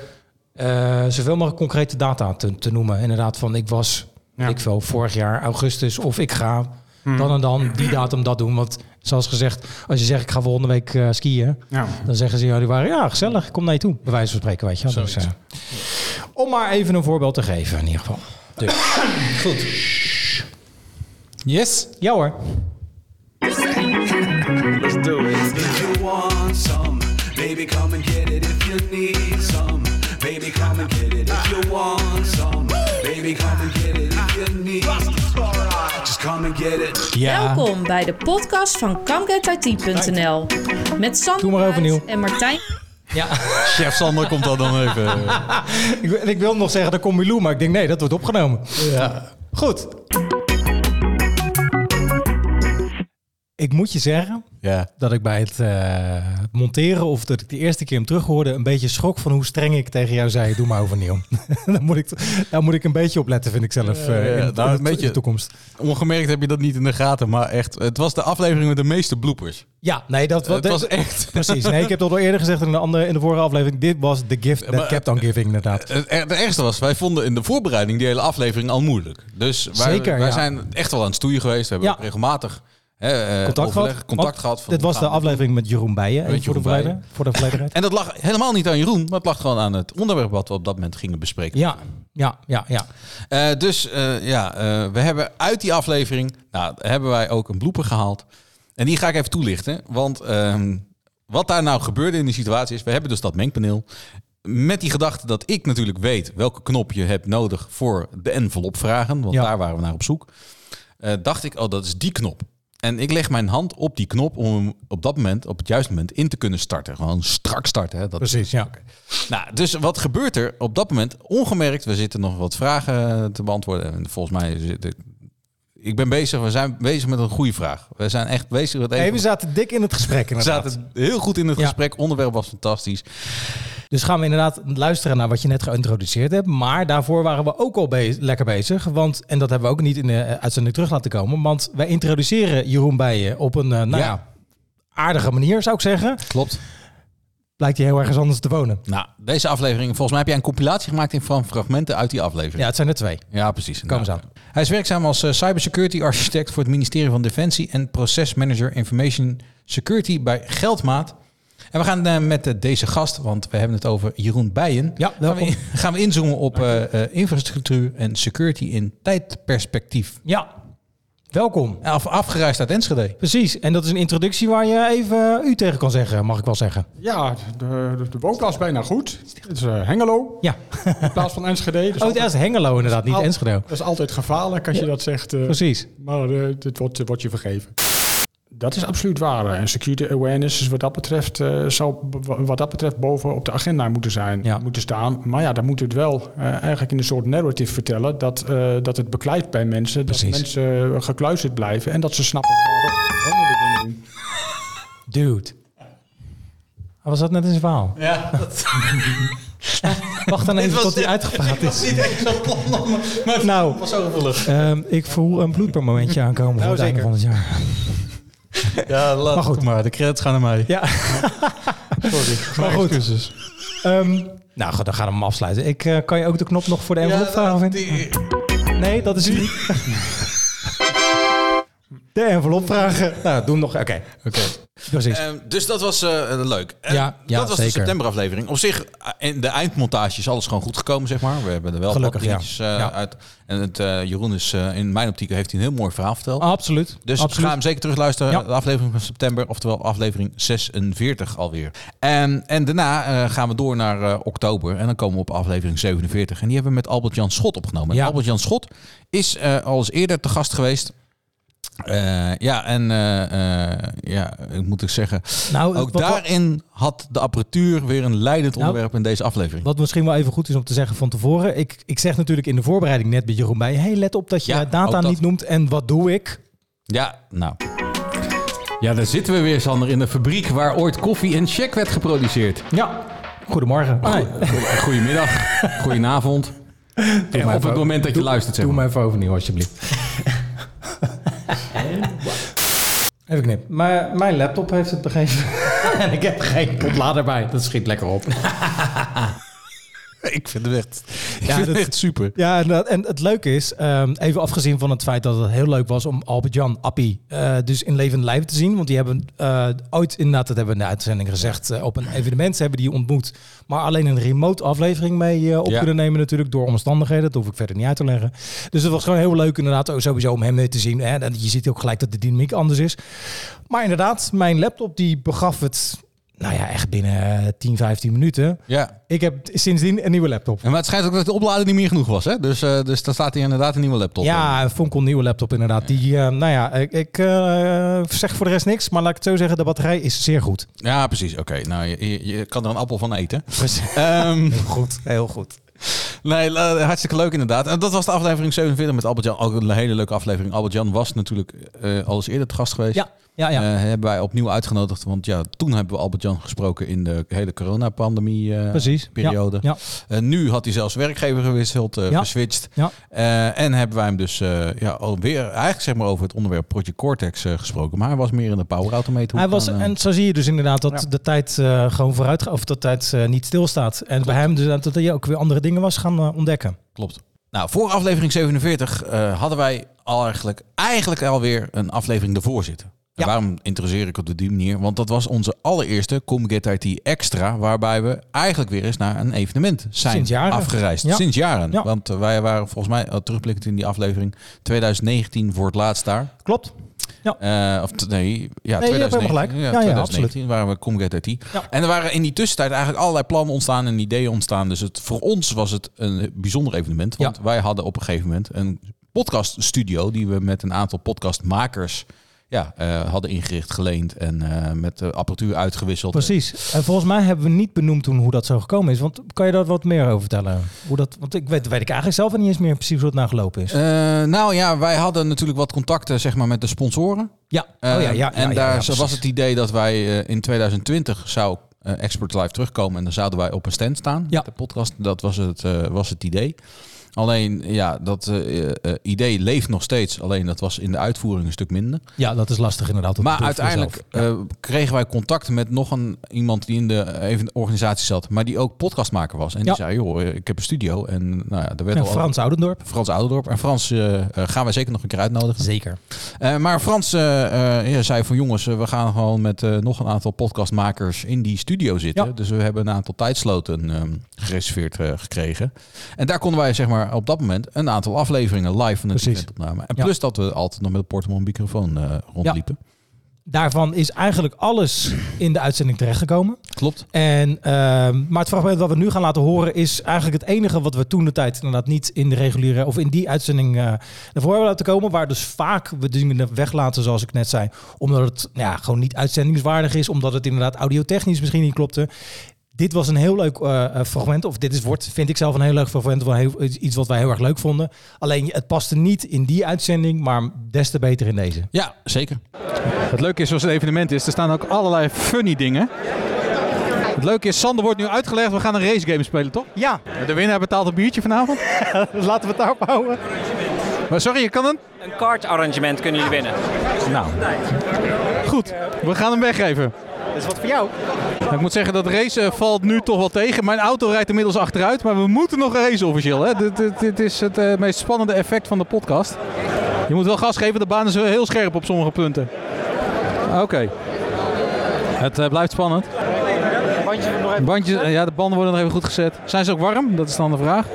Speaker 4: eh, zoveel mogelijk concrete data te, te noemen. Inderdaad, van ik was, weet ik veel, vorig jaar augustus of ik ga dan en dan die datum dat doen. Want zoals gezegd, als je zegt ik ga volgende week eh, skiën,
Speaker 6: Ja.
Speaker 4: dan zeggen ze in januari, ja gezellig, ik kom naar je toe. Bij wijze van spreken, weet je. wel. Dus, eh, om maar even een voorbeeld te geven in ieder geval. Dus.
Speaker 3: Yes.
Speaker 4: Ja hoor.
Speaker 6: Let's do it.
Speaker 1: If you want some, baby, come and get it. If you need some, baby, come and get it. If you want some, baby, come and get it. If you need some, just come and get it.
Speaker 2: Welkom bij de podcast van CamGetIT.nl met Sander
Speaker 4: Doe maar overnieuw.
Speaker 2: Bruijs en Martijn.
Speaker 3: Chef Sander komt dan nog even. eh,
Speaker 4: Ik, en ik wil nog zeggen, daar komt Milou, maar ik denk nee, dat wordt opgenomen. Goed. Ik moet je zeggen
Speaker 3: Ja.
Speaker 4: dat ik bij het eh, monteren of dat ik de eerste keer hem terughoorde een beetje schrok van hoe streng ik tegen jou zei, doe maar overnieuw. daar, moet ik, daar moet ik een beetje op letten, vind ik zelf, eh,
Speaker 3: ja, nou,
Speaker 4: in, in de-
Speaker 3: een
Speaker 4: in de
Speaker 3: beetje.
Speaker 4: toekomst.
Speaker 3: Ongemerkt heb je dat niet in de gaten, maar echt, het was de aflevering met de meeste bloopers.
Speaker 4: Ja, nee, dat,
Speaker 3: Eh, het was echt,
Speaker 4: Precies, nee, ik heb dat al eerder gezegd in de, andere, in de vorige aflevering. Dit was the gift that
Speaker 3: Maar-
Speaker 4: kept on giving, inderdaad.
Speaker 3: het er- het ergste was, wij vonden in de voorbereiding die hele aflevering al moeilijk. Dus wij,
Speaker 4: Zeker,
Speaker 3: wij
Speaker 4: ja.
Speaker 3: zijn echt wel aan het stoeien geweest. We hebben
Speaker 4: Ja.
Speaker 3: ook regelmatig hè, eh,
Speaker 4: contact
Speaker 3: overleg,
Speaker 4: gehad.
Speaker 3: contact
Speaker 4: Want
Speaker 3: gehad. van
Speaker 4: Dit
Speaker 3: hoe
Speaker 4: was de
Speaker 3: gaan we-
Speaker 4: aflevering met Jeroen Bijen. even
Speaker 3: Jeroen
Speaker 4: voor, de
Speaker 3: Bijen.
Speaker 4: verleden- voor de volledigheid.
Speaker 3: En dat lag helemaal niet aan Jeroen, maar het lag gewoon aan het onderwerp wat we op dat moment gingen bespreken.
Speaker 4: ja, ja, ja, ja.
Speaker 3: Eh, dus eh, ja, eh, we hebben uit die aflevering, nou, hebben wij ook een blooper gehaald. En die ga ik even toelichten. Want ehm, wat daar nou gebeurde in die situatie is... we hebben dus dat mengpaneel. Met die gedachte dat ik natuurlijk weet... welke knop je hebt nodig voor de envelopvragen. Want
Speaker 4: Ja.
Speaker 3: daar waren we naar op zoek. Eh, dacht ik, oh, dat is die knop. En ik leg mijn hand op die knop om hem op dat moment, op het juiste moment, in te kunnen starten. Gewoon strak starten. Hè? Dat
Speaker 4: Precies, ja.
Speaker 3: nou, dus wat gebeurt er op dat moment? Ongemerkt, we zitten nog wat vragen te beantwoorden. En volgens mij, zit ik- ik ben bezig, we zijn bezig met een goede vraag. We zijn echt bezig met
Speaker 4: Nee, we
Speaker 3: even...
Speaker 4: zaten dik in het gesprek
Speaker 3: We
Speaker 4: inderdaad.
Speaker 3: zaten heel goed in het
Speaker 4: Ja.
Speaker 3: gesprek, onderwerp was fantastisch.
Speaker 4: Dus gaan we inderdaad luisteren naar wat je net geïntroduceerd hebt. Maar daarvoor waren we ook al be- lekker bezig. Want, en dat hebben we ook niet in de eh, uitzending terug laten komen. Want wij introduceren Jeroen Bijen op een eh, nou,
Speaker 3: Ja.
Speaker 4: ja, aardige manier, zou ik zeggen.
Speaker 3: Klopt.
Speaker 4: Blijkt hij heel ergens anders te wonen.
Speaker 3: Nou, deze aflevering, volgens mij heb jij een compilatie gemaakt in van fragmenten uit die aflevering.
Speaker 4: Ja, het zijn er twee.
Speaker 3: Ja, precies.
Speaker 4: Kom eens
Speaker 3: Nou,
Speaker 4: aan.
Speaker 3: Hij is werkzaam als eh, cybersecurity architect voor het ministerie van Defensie en procesmanager information security bij Geldmaat. En we gaan eh, met eh, deze gast, want we hebben het over Jeroen Bijen.
Speaker 4: Ja,
Speaker 3: gaan we,
Speaker 4: welkom.
Speaker 3: in- gaan we inzoomen op eh, eh, infrastructuur en security in tijdperspectief.
Speaker 4: Ja, welkom.
Speaker 3: Af, afgereisd uit Enschede.
Speaker 4: Precies, en dat is een introductie waar je even eh, u tegen kan zeggen, mag ik wel zeggen.
Speaker 6: Ja, de, de, de woonplaats is bijna goed. Het is eh, Hengelo,
Speaker 4: Ja,
Speaker 6: in plaats van Enschede. Dus
Speaker 4: oh, het is Hengelo inderdaad, niet
Speaker 6: al-
Speaker 4: Enschede.
Speaker 6: Dat is altijd gevaarlijk als je dat zegt. eh,
Speaker 4: Precies.
Speaker 6: maar eh, dit wordt, eh, wordt je vergeven. Dat is absoluut waar. En security awareness is wat dat betreft, eh, zou b- wat dat betreft boven op de agenda moeten, zijn,
Speaker 4: Ja.
Speaker 6: moeten staan. Maar ja, dan moet het wel eh, eigenlijk in een soort narrative vertellen dat, eh, dat het beklijft bij mensen.
Speaker 4: Precies.
Speaker 6: Dat mensen eh, gekluisterd blijven en dat ze snappen waarom waarom we dit dingen doen.
Speaker 4: Dude. Ah, was dat net in zijn verhaal? Eh,
Speaker 3: Ja, dat
Speaker 4: Wacht dan even
Speaker 3: was
Speaker 4: tot hij
Speaker 3: dit-
Speaker 4: uitgepraat is.
Speaker 3: niet echt zo'n plan, maar
Speaker 4: Nou,
Speaker 3: was zo gevoelig.
Speaker 4: ehm, ik voel een bloedmomentje aankomen voor het einde van het jaar.
Speaker 3: Ja, laat
Speaker 4: Maar goed.
Speaker 3: het maar de credits gaan naar mij.
Speaker 4: Ja,
Speaker 3: sorry.
Speaker 4: maar goed. Ehm, nou goed, dan gaan we hem afsluiten. Ik, eh, kan je ook de knop nog voor de envelop vragen? Vind? Nee, dat is het niet. De envelop vragen. Nou, doe hem nog. Oké, precies.
Speaker 3: Ehm, dus dat was eh, leuk. En
Speaker 4: Ja, ja,
Speaker 3: dat was de
Speaker 4: zeker.
Speaker 3: septemberaflevering. Op zich, eh, in de eindmontage is alles gewoon goed gekomen, zeg maar. We hebben er wel
Speaker 4: Gelukkig,
Speaker 3: wat
Speaker 4: ja.
Speaker 3: dingetjes, eh,
Speaker 4: Ja.
Speaker 3: uit. En het, eh, Jeroen is, eh, in mijn optiek, heeft hij een heel mooi verhaal verteld.
Speaker 4: Absoluut.
Speaker 3: Dus
Speaker 4: absoluut.
Speaker 3: ga hem zeker terugluisteren.
Speaker 4: Ja.
Speaker 3: De aflevering van september, oftewel aflevering 46 alweer. En, en daarna eh, gaan we door naar eh, oktober. En dan komen we op aflevering 47. En die hebben we met Albert-Jan Schot opgenomen. En
Speaker 4: Ja.
Speaker 3: Albert-Jan Schot is eh, al eens eerder te gast geweest. Eh, ja, en eh, eh, ja, ik moet ik zeggen,
Speaker 4: Nou,
Speaker 3: ook
Speaker 4: wat-
Speaker 3: daarin had de apparatuur weer een leidend
Speaker 4: Nou,
Speaker 3: onderwerp in deze aflevering.
Speaker 4: Wat misschien wel even goed is om te zeggen van tevoren. Ik, ik zeg natuurlijk in de voorbereiding net bij Jeroen bij. Hey, let op dat je
Speaker 3: Ja,
Speaker 4: eh, data
Speaker 3: ook dat.
Speaker 4: niet noemt. En wat doe ik?
Speaker 3: Ja, nou. Ja, daar zitten we weer, Sander, in de fabriek waar ooit koffie en check werd geproduceerd.
Speaker 4: Ja. Goedemorgen.
Speaker 3: Ah,
Speaker 4: Oh, nee.
Speaker 3: Goedemiddag, goedenavond.
Speaker 4: maar
Speaker 3: op
Speaker 4: even-
Speaker 3: het moment dat je luistert, zeg
Speaker 4: Doe
Speaker 3: maar.
Speaker 4: maar even overnieuw, alsjeblieft. Even knip. Maar mijn laptop heeft het begeven. en ik heb geen ontlader bij. Dat schiet lekker op.
Speaker 3: Ik vind het echt, ik
Speaker 4: Ja,
Speaker 3: vind het
Speaker 4: dat-
Speaker 3: echt super.
Speaker 4: Ja, en, dat- en het leuke is, ehm, even afgezien van het feit dat het heel leuk was om Albert-Jan, Appie, eh, dus in levend lijf te zien. Want die hebben eh, ooit, inderdaad, dat hebben we in de uitzending gezegd, eh, op een evenement hebben die ontmoet. Maar alleen een remote aflevering mee eh, op
Speaker 3: Ja.
Speaker 4: kunnen nemen natuurlijk, door omstandigheden. Dat hoef ik verder niet uit te leggen. Dus het was gewoon heel leuk inderdaad, ook sowieso om hem mee te zien. Hè? En je ziet ook gelijk dat de dynamiek anders is. Maar inderdaad, mijn laptop die begaf het, nou ja, echt binnen eh, 10, 15 minuten.
Speaker 3: Ja.
Speaker 4: Ik heb sindsdien een nieuwe laptop.
Speaker 3: En maar het schijnt ook dat de oplader niet meer genoeg was, hè? Dus, eh dus daar staat hier inderdaad een nieuwe laptop.
Speaker 4: Ja, een fonkel nieuwe laptop inderdaad. Die, eh, nou ja, ik, ik eh, zeg voor de rest niks, maar laat ik het zo zeggen, de batterij is zeer goed.
Speaker 3: in. Ja, precies. Oké, nou, je, je- je kan er een appel van eten. Ehm,
Speaker 4: Heel goed, heel goed.
Speaker 3: Nee, la- hartstikke leuk inderdaad. En dat was de aflevering 47 met Albert-Jan. Ook een hele leuke aflevering. Albert-Jan was natuurlijk eh, al eens eerder te gast geweest.
Speaker 4: Ja, ja, ja.
Speaker 3: Eh, hebben wij opnieuw uitgenodigd. Want ja, toen hebben we Albert-Jan gesproken in de hele coronapandemie eh,
Speaker 4: precies. Ja,
Speaker 3: periode.
Speaker 4: Ja,
Speaker 3: En Eh, nu had hij zelfs werkgever gewisseld, eh
Speaker 4: Ja.
Speaker 3: geswitcht.
Speaker 4: ja.
Speaker 3: Eh, en hebben wij hem dus eh ja, alweer eigenlijk zeg maar over het onderwerp Project Cortex eh, gesproken. Maar hij was meer in de power automate. hoek
Speaker 4: Hij was,
Speaker 3: dan, eh,
Speaker 4: en zo zie je dus inderdaad dat de tijd eh, gewoon vooruit gaat, of dat de tijd eh, niet stilstaat. En bij hem dus dat dat hij ook weer andere dingen was gaan eh, ontdekken.
Speaker 3: Klopt. Nou, voor aflevering 47 eh, hadden wij al eigenlijk, eigenlijk alweer een aflevering ervoor zitten. En
Speaker 4: Ja.
Speaker 3: waarom interesseer ik het op die manier? Want dat was onze allereerste ComGet IT Extra, waarbij we eigenlijk weer eens naar een evenement zijn
Speaker 4: Sinds jaren.
Speaker 3: afgereisd.
Speaker 4: Ja.
Speaker 3: Sinds jaren.
Speaker 4: Ja.
Speaker 3: Want eh, wij waren volgens mij, al terugblikkend in die aflevering, 2019 voor het laatst daar.
Speaker 4: Klopt. Ja.
Speaker 3: Eh, of t- nee, ja,
Speaker 4: Nee, je hebt
Speaker 3: 2019,
Speaker 4: helemaal gelijk. Ja, ja,
Speaker 3: 2019 waren we Comget IT.
Speaker 4: Ja.
Speaker 3: En er waren in die tussentijd eigenlijk allerlei plannen ontstaan en ideeën ontstaan. Dus het, voor ons was het een bijzonder evenement. Want
Speaker 4: Ja.
Speaker 3: wij hadden op een gegeven moment een podcaststudio... die we met een aantal podcastmakers ja, eh, hadden ingericht, geleend... en eh, met de apparatuur uitgewisseld.
Speaker 4: Precies. En volgens mij hebben we niet benoemd toen hoe dat zo gekomen is. Want kan je daar wat meer over vertellen? Hoe dat, want ik weet, weet ik eigenlijk zelf niet eens meer precies hoe het nou gelopen is.
Speaker 3: Eh, nou ja, wij hadden natuurlijk wat contacten zeg maar, met de sponsoren.
Speaker 4: ja. Oh, ja, ja, ja,
Speaker 3: ehm, en
Speaker 4: ja,
Speaker 3: daar
Speaker 4: ja,
Speaker 3: zo was
Speaker 4: precies.
Speaker 3: het idee dat wij eh, in 2020 zou eh, Expert Live terugkomen. En dan zouden wij op een stand staan.
Speaker 4: Ja.
Speaker 3: Met de podcast, dat was het, eh, was het idee. Alleen, ja, dat eh, eh, idee leeft nog steeds. Alleen dat was in de uitvoering een stuk minder.
Speaker 4: Ja, dat is lastig inderdaad. dat
Speaker 3: Maar
Speaker 4: bedoel ik
Speaker 3: uiteindelijk
Speaker 4: zelf. Ja.
Speaker 3: eh, kregen wij contact met nog een iemand die in de eh, even organisatie zat, maar die ook podcastmaker was. En
Speaker 4: Ja.
Speaker 3: die zei: joh, eh, ik heb een studio. En nou ja, er werd
Speaker 4: Ja,
Speaker 3: al
Speaker 4: Frans Oudendorp.
Speaker 3: Frans Ouderdorp. En Frans eh, eh, gaan wij zeker nog een keer uitnodigen.
Speaker 4: Zeker.
Speaker 3: Eh, maar Frans eh, eh, ja, zei van jongens, eh, we gaan gewoon met eh, nog een aantal podcastmakers in die studio zitten.
Speaker 4: Ja.
Speaker 3: Dus we hebben een aantal tijdsloten ehm, gereserveerd eh, gekregen. En daar konden wij zeg maar op dat moment een aantal afleveringen live van de
Speaker 4: Precies.
Speaker 3: eventopname. En
Speaker 4: Ja.
Speaker 3: plus dat we altijd nog met een portemonnee microfoon eh, rondliepen.
Speaker 4: Daarvan is eigenlijk alles in de uitzending terechtgekomen.
Speaker 3: Klopt.
Speaker 4: En, ehm, maar het fragment wat we nu gaan laten horen is eigenlijk het enige wat we toen de tijd inderdaad niet in de reguliere of in die uitzending eh naar voren hebben laten komen. Waar dus vaak we dingen weglaten, zoals ik net zei, omdat het nou ja, gewoon niet uitzendingswaardig is, omdat het inderdaad audiotechnisch misschien niet klopte. Dit was een heel leuk eh, eh, fragment, of dit is, wordt, vind ik zelf een heel leuk fragment, wel heel, iets wat wij heel erg leuk vonden. Alleen het paste niet in die uitzending, maar des te beter in deze.
Speaker 3: Ja, zeker.
Speaker 7: Het leuke is, zoals het evenement is, er staan ook allerlei funny dingen. Het leuke is, Sander wordt nu uitgelegd, we gaan een race game spelen, toch?
Speaker 8: Ja,
Speaker 7: De winnaar betaalt een biertje vanavond.
Speaker 8: laten we het daarop houden.
Speaker 7: Maar sorry, je kan een...
Speaker 9: Een kaartarrangement kunnen jullie winnen.
Speaker 7: Nou, goed. We gaan hem weggeven.
Speaker 8: Dat is wat voor jou.
Speaker 7: Ik moet zeggen, dat race eh, valt nu toch wel tegen. Mijn auto rijdt inmiddels achteruit, maar we moeten nog racen officieel. Hè? Dit, dit, dit is het eh, meest spannende effect van de podcast. Je moet wel gas geven, de baan is wel heel scherp op sommige punten. Oké. Het eh, blijft spannend.
Speaker 8: Bandje nog even.
Speaker 7: Bandjes, eh, ja, de banden worden nog even goed gezet. Zijn ze ook warm? Dat is dan de vraag.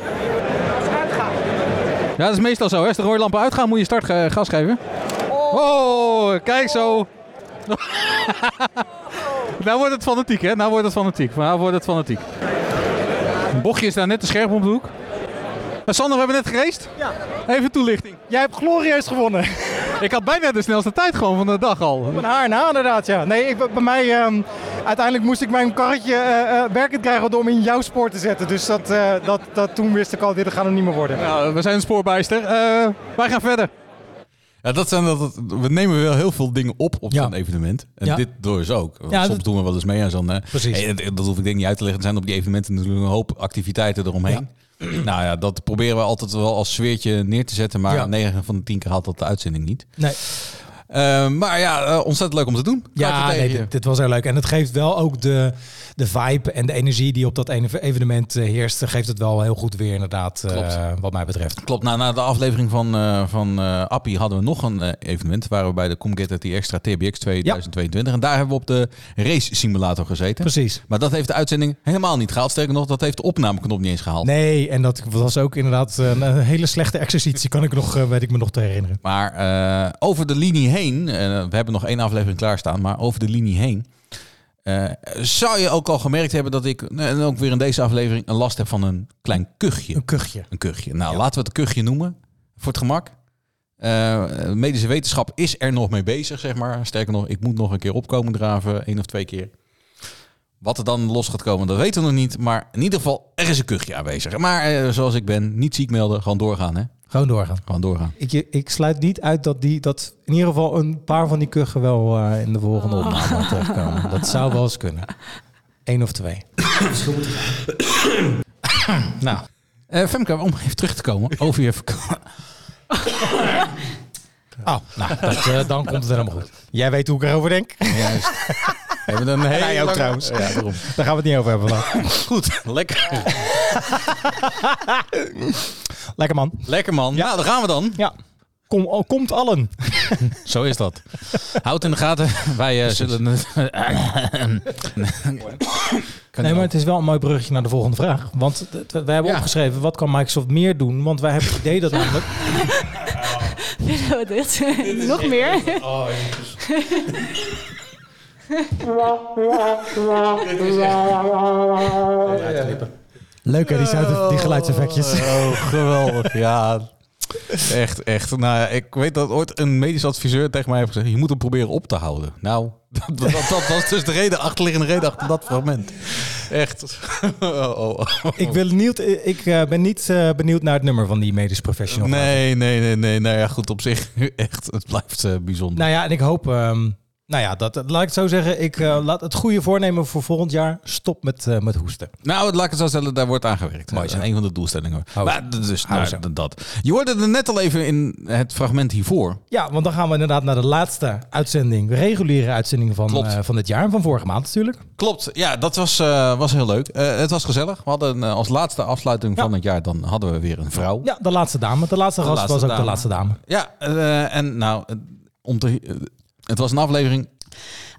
Speaker 7: Ja, dat is meestal zo. Hè? Als de rode lampen uitgaan, moet je start eh, gas geven. Oh, kijk zo.
Speaker 8: Oh.
Speaker 7: nou wordt het fanatiek, hè? Nou wordt het fanatiek. Nou wordt het fanatiek. Een bochtje is daar net te scherp om de hoek. Eh, Sander, we hebben net gereest.
Speaker 8: Ja.
Speaker 7: Even toelichting.
Speaker 8: Jij hebt glorieus gewonnen.
Speaker 7: Ik had bijna de snelste tijd gewoon van de dag al.
Speaker 8: Van haar na, inderdaad. Ja. Nee, ik, bij mij, ehm, uiteindelijk moest ik mijn karretje eh, eh, werkend krijgen om in jouw spoor te zetten. Dus dat, eh, dat, dat, toen wist ik al, dit gaat hem niet meer worden.
Speaker 7: Nou, we zijn een spoorbijster. Eh, wij gaan verder.
Speaker 3: Ja, dat zijn dat, dat- we nemen wel heel veel dingen op op
Speaker 4: Ja.
Speaker 3: zo'n evenement. En
Speaker 4: Ja.
Speaker 3: dit door is ook. Want
Speaker 4: Ja,
Speaker 3: Soms
Speaker 4: dat-
Speaker 3: doen we wel eens mee aan zo'n... eh,
Speaker 4: Precies.
Speaker 3: hey, dat, dat hoef ik denk niet uit te leggen. Er zijn op die evenementen natuurlijk een hoop activiteiten eromheen. Nou ja, dat proberen we altijd wel als sfeertje neer te zetten. Maar
Speaker 4: Ja.
Speaker 3: 9 van de 10 keer haalt dat de uitzending niet.
Speaker 4: Nee.
Speaker 3: Eh, maar ja, eh, ontzettend leuk om te doen.
Speaker 4: Ja,
Speaker 3: Kaartje
Speaker 4: nee,
Speaker 3: tegen.
Speaker 4: dit, dit was heel leuk. En het geeft wel ook de, de vibe en de energie die op dat ene evenement eh, heerst. Geeft het wel heel goed weer, inderdaad, eh,
Speaker 3: Klopt.
Speaker 4: wat mij betreft.
Speaker 3: Klopt, nou, na de aflevering van, eh, van eh, Appie hadden we nog een eh, evenement. Waren we bij de Comgetter die Extra TBX 2022. En daar hebben we op de race simulator gezeten.
Speaker 4: Precies.
Speaker 3: Maar dat heeft de uitzending helemaal niet gehaald. Sterker nog, dat heeft de opnameknop niet eens gehaald.
Speaker 4: Nee, en dat was ook inderdaad een, een hele slechte exercitie, kan ik nog, eh, weet ik me nog te herinneren.
Speaker 3: Maar eh, over de linie heen, eh, we hebben nog één aflevering klaarstaan, maar over de linie heen. eh, zou je ook al gemerkt hebben dat ik, en ook weer in deze aflevering, een last heb van een klein kuchje.
Speaker 4: Een kuchje.
Speaker 3: Een kuchje. Nou, laten we het een kuchje noemen, voor het gemak. Eh, medische wetenschap is er nog mee bezig, zeg maar. Sterker nog, ik moet nog een keer opkomen draven, één of twee keer. Wat er dan los gaat komen, dat weten we nog niet. Maar in ieder geval, er is een kuchje aanwezig. Maar eh, zoals ik ben, niet ziek melden, gewoon doorgaan, hè.
Speaker 4: Gewoon doorgaan.
Speaker 3: Gewoon doorgaan.
Speaker 4: Ik, ik sluit niet uit dat, die, dat in ieder geval een paar van die kuchen wel eh, in de volgende opname terugkomen. Dat zou wel eens kunnen. Eén of twee.
Speaker 3: Nou, eh, Femke, om even terug te komen over je vakantie.
Speaker 4: Oh, nou, dat, eh, dan komt het helemaal goed. Jij weet hoe ik erover denk.
Speaker 3: Juist. We hebben een hele
Speaker 4: Wij ook
Speaker 3: lange-
Speaker 4: trouwens.
Speaker 3: Ja, daarom.
Speaker 4: Daar gaan we het niet over hebben vandaag.
Speaker 3: Goed, lekker,
Speaker 4: Lekker man.
Speaker 3: lekker man. Ja, Nou, daar gaan we dan.
Speaker 4: Ja. Kom,
Speaker 10: oh,
Speaker 4: al- komt allen.
Speaker 10: Zo is dat. Houd in de gaten. Wij eh, zullen...
Speaker 4: Nee, maar het is wel een mooi bruggetje naar de volgende vraag. Want t- t- wij hebben
Speaker 10: Ja.
Speaker 4: opgeschreven, wat kan Microsoft meer doen? Want wij hebben het idee dat namelijk...
Speaker 11: Willen we dit? Nog meer?
Speaker 12: Leuk hè, die, sound- die geluidseffectjes.
Speaker 10: Oh, geweldig. Ja. Echt, echt. Nou, ja, ik weet dat ooit een medisch adviseur tegen mij heeft gezegd: je moet hem proberen op te houden. Nou, dat, dat, dat was dus de reden, achterliggende reden achter dat fragment. Echt. Oh, oh, oh.
Speaker 4: Ik, wil niet, ik eh, ben niet eh, benieuwd naar het nummer van die medisch professional.
Speaker 10: Nee, nee, nee, nee. Nou ja, goed, op zich echt. Het blijft eh, bijzonder.
Speaker 4: Nou ja, en ik hoop... ehm, nou ja, dat, laat ik het zo zeggen. Ik eh, laat het goede voornemen voor volgend jaar. Stop met, eh, met hoesten.
Speaker 10: Nou, het laat ik het zo stellen, daar wordt aangewerkt.
Speaker 4: Mooi
Speaker 10: dat
Speaker 4: zo.
Speaker 10: is een van de doelstellingen.
Speaker 4: Hou
Speaker 10: maar d- dus,
Speaker 4: Hou
Speaker 10: nou,
Speaker 4: zo.
Speaker 10: d- dat. Je hoorde er net al even in het fragment hiervoor.
Speaker 4: Ja, want dan gaan we inderdaad naar de laatste uitzending. De reguliere uitzending van,
Speaker 10: Klopt.
Speaker 4: eh, van dit jaar. Van vorige maand natuurlijk.
Speaker 10: Klopt, ja, dat was, eh, was heel leuk. Eh, het was gezellig. We hadden eh, als laatste afsluiting
Speaker 4: Ja.
Speaker 10: van het jaar, dan hadden we weer een vrouw.
Speaker 4: Ja, de laatste dame. De laatste
Speaker 10: De
Speaker 4: gast
Speaker 10: laatste
Speaker 4: was ook de
Speaker 10: dame.
Speaker 4: laatste dame.
Speaker 10: Ja, eh, en nou, eh, om te, eh, het was een aflevering.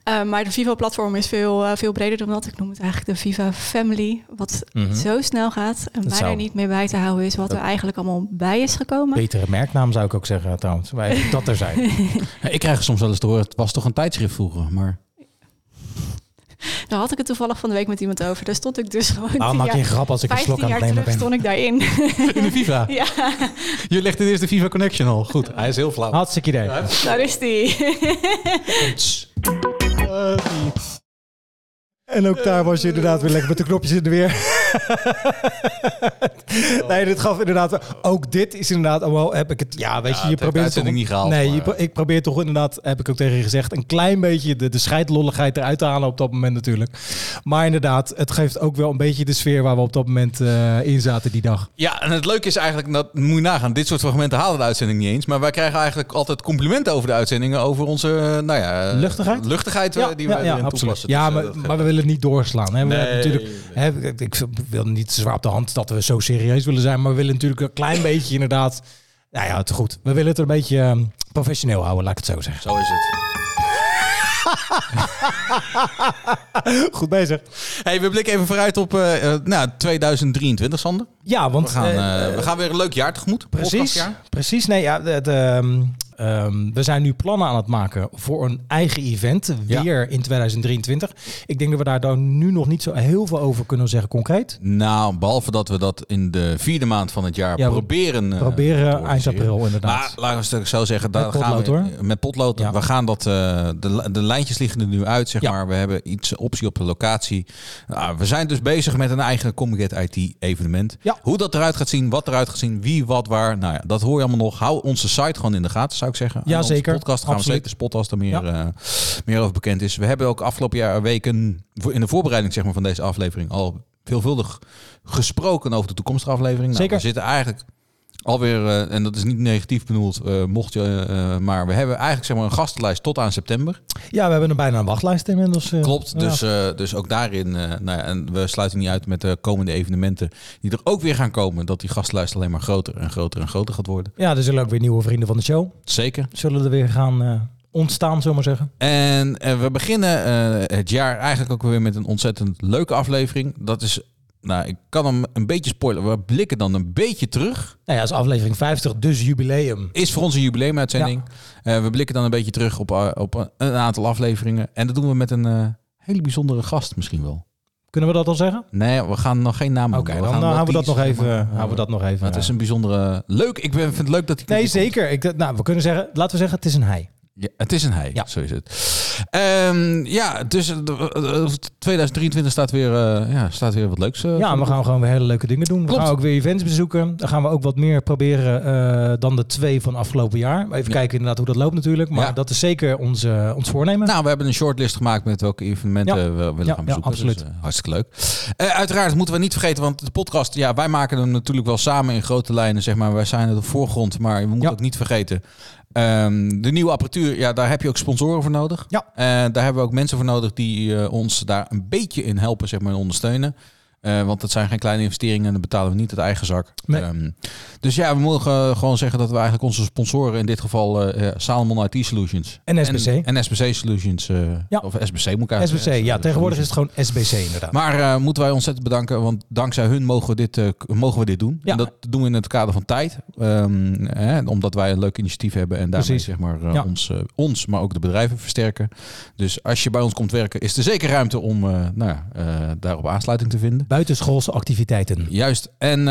Speaker 11: Eh, maar de Viva-platform is veel, eh, veel breder dan dat. Ik noem het eigenlijk de Viva-family. Wat
Speaker 4: Mhm.
Speaker 11: zo snel gaat en
Speaker 4: Dat
Speaker 11: bijna
Speaker 4: zou-
Speaker 11: niet meer bij te houden is wat er eigenlijk allemaal bij is gekomen.
Speaker 4: Betere merknaam zou ik ook zeggen trouwens. Maar even dat er zijn.
Speaker 10: Ik krijg soms wel eens te horen, het was toch een tijdschrift vroeger, maar...
Speaker 11: Daar had ik het toevallig van de week met iemand over. Daar stond ik dus gewoon
Speaker 4: Nou,
Speaker 11: tien
Speaker 4: maak je een
Speaker 11: jaar,
Speaker 4: grap als ik een
Speaker 11: 15
Speaker 4: slok aan
Speaker 11: jaar
Speaker 4: het nemen
Speaker 11: terug
Speaker 4: ben.
Speaker 11: stond ik daarin.
Speaker 10: In de FIFA.
Speaker 11: ja,
Speaker 10: Je legt in eerst de FIFA Connection al. Goed, hij is heel flauw.
Speaker 4: Hartstikke idee.
Speaker 11: daar is die.
Speaker 4: En ook daar was je inderdaad weer lekker met de knopjes in de weer. nee, dit gaf inderdaad... Ook dit is inderdaad... Oh, wel heb ik het... Ja, weet je,
Speaker 10: het
Speaker 4: je
Speaker 10: heeft de
Speaker 4: probeert het
Speaker 10: uitzending niet gehaald,
Speaker 4: Nee, je
Speaker 10: maar-
Speaker 4: pro- ik probeer toch inderdaad, heb ik ook tegen je gezegd... een klein beetje de, de scheidlolligheid eruit te halen op dat moment natuurlijk. Maar inderdaad, het geeft ook wel een beetje de sfeer... waar we op dat moment eh, in zaten die dag.
Speaker 10: Ja, en het leuke is eigenlijk, dat moet je nagaan, dit soort fragmenten halen de uitzending niet eens. Maar wij krijgen eigenlijk altijd complimenten over de uitzendingen, over onze, eh, nou ja... eh,
Speaker 4: Luchtigheid?
Speaker 10: Luchtigheid eh, die we erin toepassen.
Speaker 4: Ja,
Speaker 10: Dus, eh,
Speaker 4: maar,
Speaker 10: dat geeft-
Speaker 4: maar we willen het niet doorslaan. Hè. We hebben natuurlijk, hè, ik, ik wil niet te zwaar op de hand dat we zo serieus willen zijn, maar we willen natuurlijk een klein beetje inderdaad. Nou ja, het is goed. We willen het een beetje ehm, professioneel houden, laat ik het zo zeggen.
Speaker 10: Zo is het.
Speaker 4: Goed bezig.
Speaker 10: Hey, we blikken even vooruit op eh, eh, nou, 2023, Sander.
Speaker 4: Ja, want
Speaker 10: We gaan,
Speaker 4: eh,
Speaker 10: eh, we gaan weer een leuk jaar tegemoet.
Speaker 4: precies,
Speaker 10: Podcastjaar.
Speaker 4: precies. Nee, ja, het, ehm, ehm, we zijn nu plannen aan het maken voor een eigen event
Speaker 10: Ja.
Speaker 4: weer in 2023. Ik denk dat we daar dan nu nog niet zo heel veel over kunnen zeggen concreet.
Speaker 10: Nou, behalve dat we dat in de vierde maand van het jaar
Speaker 4: Ja, we
Speaker 10: proberen. eh, te
Speaker 4: Proberen eind
Speaker 10: organiseren.
Speaker 4: april inderdaad.
Speaker 10: Maar laten we het zo zeggen, daar
Speaker 4: Met potlood,
Speaker 10: gaan we met potlood.
Speaker 4: Ja.
Speaker 10: We gaan dat eh, de, de lijntjes liggen er nu uit, zeg
Speaker 4: Ja.
Speaker 10: maar. We hebben iets optie op de locatie. Nou, we zijn dus bezig met een eigen Comget IT evenement.
Speaker 4: Ja.
Speaker 10: Hoe dat eruit gaat zien, wat eruit gaat zien, wie, wat, waar. Nou ja, dat hoor je allemaal nog. Hou onze site gewoon in de gaten, zou ik zeggen.
Speaker 4: Ja,
Speaker 10: En onze
Speaker 4: zeker.
Speaker 10: podcast gaan
Speaker 4: Absoluut.
Speaker 10: we zeker spotten als er meer,
Speaker 4: Ja.
Speaker 10: eh, meer over bekend is. We hebben ook afgelopen jaar weken voor- in de voorbereiding zeg maar, van deze aflevering al veelvuldig gesproken over de toekomstige aflevering. Nou,
Speaker 4: Zeker.
Speaker 10: We zitten eigenlijk alweer, eh, en dat is niet negatief bedoeld, eh, mocht je, eh, eh, maar we hebben eigenlijk zeg maar, een gastenlijst tot aan september.
Speaker 4: Ja, we hebben er bijna een wachtlijst inmiddels. eh.
Speaker 10: Klopt,
Speaker 4: Ja.
Speaker 10: dus, eh, dus ook daarin, eh, nou ja, en we sluiten niet uit met de komende evenementen die er ook weer gaan komen, dat die gastenlijst alleen maar groter en groter en groter gaat worden.
Speaker 4: Ja, er zullen ook weer nieuwe vrienden van de show.
Speaker 10: Zeker.
Speaker 4: Zullen er weer gaan eh, ontstaan, zullen we maar zeggen.
Speaker 10: En eh, we beginnen eh, het jaar eigenlijk ook weer met een ontzettend leuke aflevering. Dat is, nou, ik kan hem een beetje spoilen. We blikken dan een beetje terug.
Speaker 4: Nou ja, dat is aflevering 50, dus jubileum.
Speaker 10: Is voor ons een jubileumuitzending. Eh, we blikken dan een beetje terug op, eh, op een een aantal afleveringen. En dat doen we met een eh, hele bijzondere gast misschien wel.
Speaker 4: Kunnen we dat al zeggen?
Speaker 10: Nee, we gaan nog geen naam
Speaker 4: Oké,
Speaker 10: noemen.
Speaker 4: dan
Speaker 10: gaan
Speaker 4: eh,
Speaker 10: wel
Speaker 4: houden we dat nog
Speaker 10: teasen,
Speaker 4: even.
Speaker 10: maar, eh,
Speaker 4: houden we dat nog even.
Speaker 10: maar het
Speaker 4: ja.
Speaker 10: is een bijzondere... Leuk, ik ben, vind het leuk dat hij...
Speaker 4: Nee, zeker. Ik, nou, we kunnen zeggen, laten we zeggen, het is een hij.
Speaker 10: Ja, het is een hij,
Speaker 4: Ja.
Speaker 10: zo is het. Ehm, ja, dus eh, eh, 2023 staat weer, eh, ja, staat weer wat leuks. eh,
Speaker 4: Ja,
Speaker 10: voor
Speaker 4: we
Speaker 10: de
Speaker 4: gaan gewoon weer hele leuke dingen doen. We
Speaker 10: Klopt.
Speaker 4: gaan ook weer events bezoeken. Dan gaan we ook wat meer proberen eh, dan de twee van afgelopen jaar. Even kijken inderdaad hoe dat loopt natuurlijk. Maar
Speaker 10: Ja.
Speaker 4: dat is zeker ons, eh, ons voornemen.
Speaker 10: Nou, we hebben een shortlist gemaakt met welke evenementen
Speaker 4: Ja.
Speaker 10: we willen
Speaker 4: Ja,
Speaker 10: gaan
Speaker 4: ja,
Speaker 10: bezoeken.
Speaker 4: absoluut.
Speaker 10: Dus, eh, hartstikke leuk. Eh, uiteraard moeten we niet vergeten, want de podcast, ja, wij maken hem natuurlijk wel samen in grote lijnen, zeg maar. Wij zijn op de voorgrond, maar we moeten
Speaker 4: Ja.
Speaker 10: ook niet vergeten. ehm, de nieuwe apparatuur, ja, daar heb je ook sponsoren voor nodig.
Speaker 4: Ja.
Speaker 10: Eh, daar hebben we ook mensen voor nodig die eh, ons daar een beetje in helpen, zeg maar, en ondersteunen. Eh, want dat zijn geen kleine investeringen en dat betalen we niet uit eigen zak. Ehm, dus ja, we mogen gewoon zeggen dat we eigenlijk onze sponsoren, in dit geval eh, eh, Salomon IT Solutions.
Speaker 4: En SBC.
Speaker 10: En, en SBC Solutions. eh, Of SBC moet ik eigenlijk
Speaker 4: SBC,
Speaker 10: zeggen.
Speaker 4: ja. Tegenwoordig is het gewoon SBC inderdaad.
Speaker 10: Maar eh, moeten wij ontzettend bedanken, want dankzij hun mogen we dit, eh, k- mogen we dit doen. En dat doen we in het kader van tijd. Ehm, hè, omdat wij een leuk initiatief hebben en daarmee
Speaker 4: Precies.
Speaker 10: zeg maar, eh,
Speaker 4: Ja.
Speaker 10: ons, eh, ons, maar ook de bedrijven versterken. Dus als je bij ons komt werken, is er zeker ruimte om eh, nou, ja, eh, daarop aansluiting te vinden.
Speaker 4: Buitenschoolse activiteiten.
Speaker 10: Juist. En eh,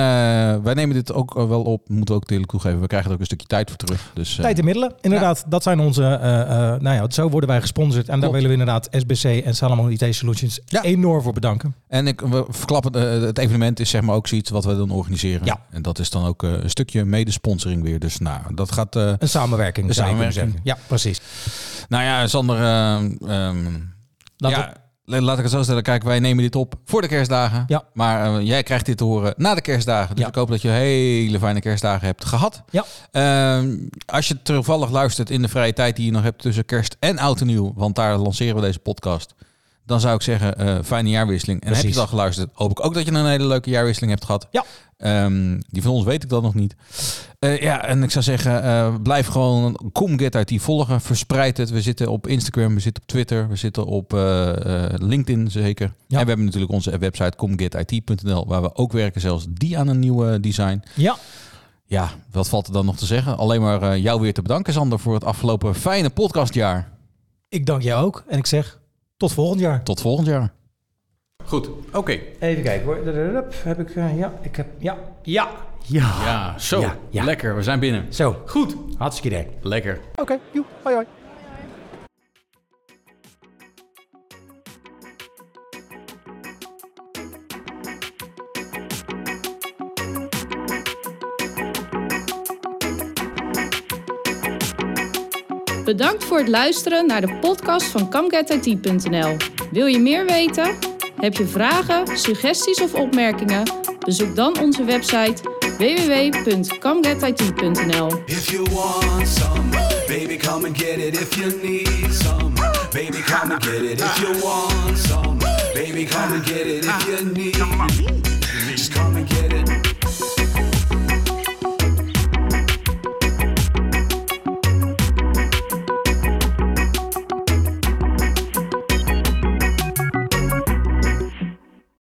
Speaker 10: wij nemen dit ook eh, wel op, moeten we ook eerlijk toegeven. We krijgen er ook een stukje tijd voor terug. Dus, eh,
Speaker 4: Tijd en middelen, inderdaad. Dat zijn onze, eh, eh, nou ja, zo worden wij gesponsord. En daar willen we inderdaad SBC en Salomon IT Solutions enorm voor bedanken.
Speaker 10: En ik, we verklappen, eh, het evenement is zeg maar ook zoiets wat we dan organiseren. En dat is dan ook eh, een stukje medesponsoring weer. Dus nou, dat gaat... eh,
Speaker 4: Een samenwerking.
Speaker 10: Een
Speaker 4: zou je kunnen
Speaker 10: samenwerking.
Speaker 4: zeggen. Ja, precies.
Speaker 10: Nou ja, Sander... eh, ehm, ja, la- Laat ik het zo stellen. Kijk, wij nemen dit op voor de kerstdagen.
Speaker 4: Ja.
Speaker 10: Maar eh, jij krijgt dit te horen na de kerstdagen. Dus ik hoop dat je hele fijne kerstdagen hebt gehad.
Speaker 4: Ja.
Speaker 10: Ehm, als je toevallig luistert in de vrije tijd die je nog hebt tussen kerst en oud en nieuw. Want daar lanceren we deze podcast. Dan zou ik zeggen, eh, fijne jaarwisseling. En heb je
Speaker 4: Precies.
Speaker 10: het al geluisterd, hoop ik ook dat je een hele leuke jaarwisseling hebt gehad.
Speaker 4: Ja.
Speaker 10: Ehm, die van ons weet ik dan nog niet. Eh, ja, en ik zou zeggen, eh, blijf gewoon Kom Get IT volgen. Verspreid het. We zitten op Instagram, we zitten op Twitter, we zitten op eh, eh, LinkedIn zeker. En we hebben natuurlijk onze website comgetit.nl, waar we ook werken. Zelfs die aan een nieuwe design.
Speaker 4: Ja.
Speaker 10: Ja, wat valt er dan nog te zeggen? Alleen maar eh, jou weer te bedanken, Sander, voor het afgelopen fijne podcastjaar.
Speaker 4: Ik dank jou ook. En ik zeg tot volgend jaar.
Speaker 10: Tot volgend jaar. Goed, oké.
Speaker 4: Even kijken hoor. Drup, Heb ik, eh, ja, ik heb, ja, ja.
Speaker 10: Ja. Ja, zo. Lekker, we zijn binnen.
Speaker 4: Zo. Goed. Hartstikke idee.
Speaker 10: Lekker.
Speaker 13: Oké, joe, hoi hoi.
Speaker 2: Bedankt voor het luisteren naar de podcast van CamGetIT.nl. Wil je meer weten? Heb je vragen, suggesties of opmerkingen? Bezoek dan onze website www.camgetit.nl.
Speaker 1: If you want some, baby, come and get it. If you need some, baby, come and get it. If you want some, baby, come and get it. If you need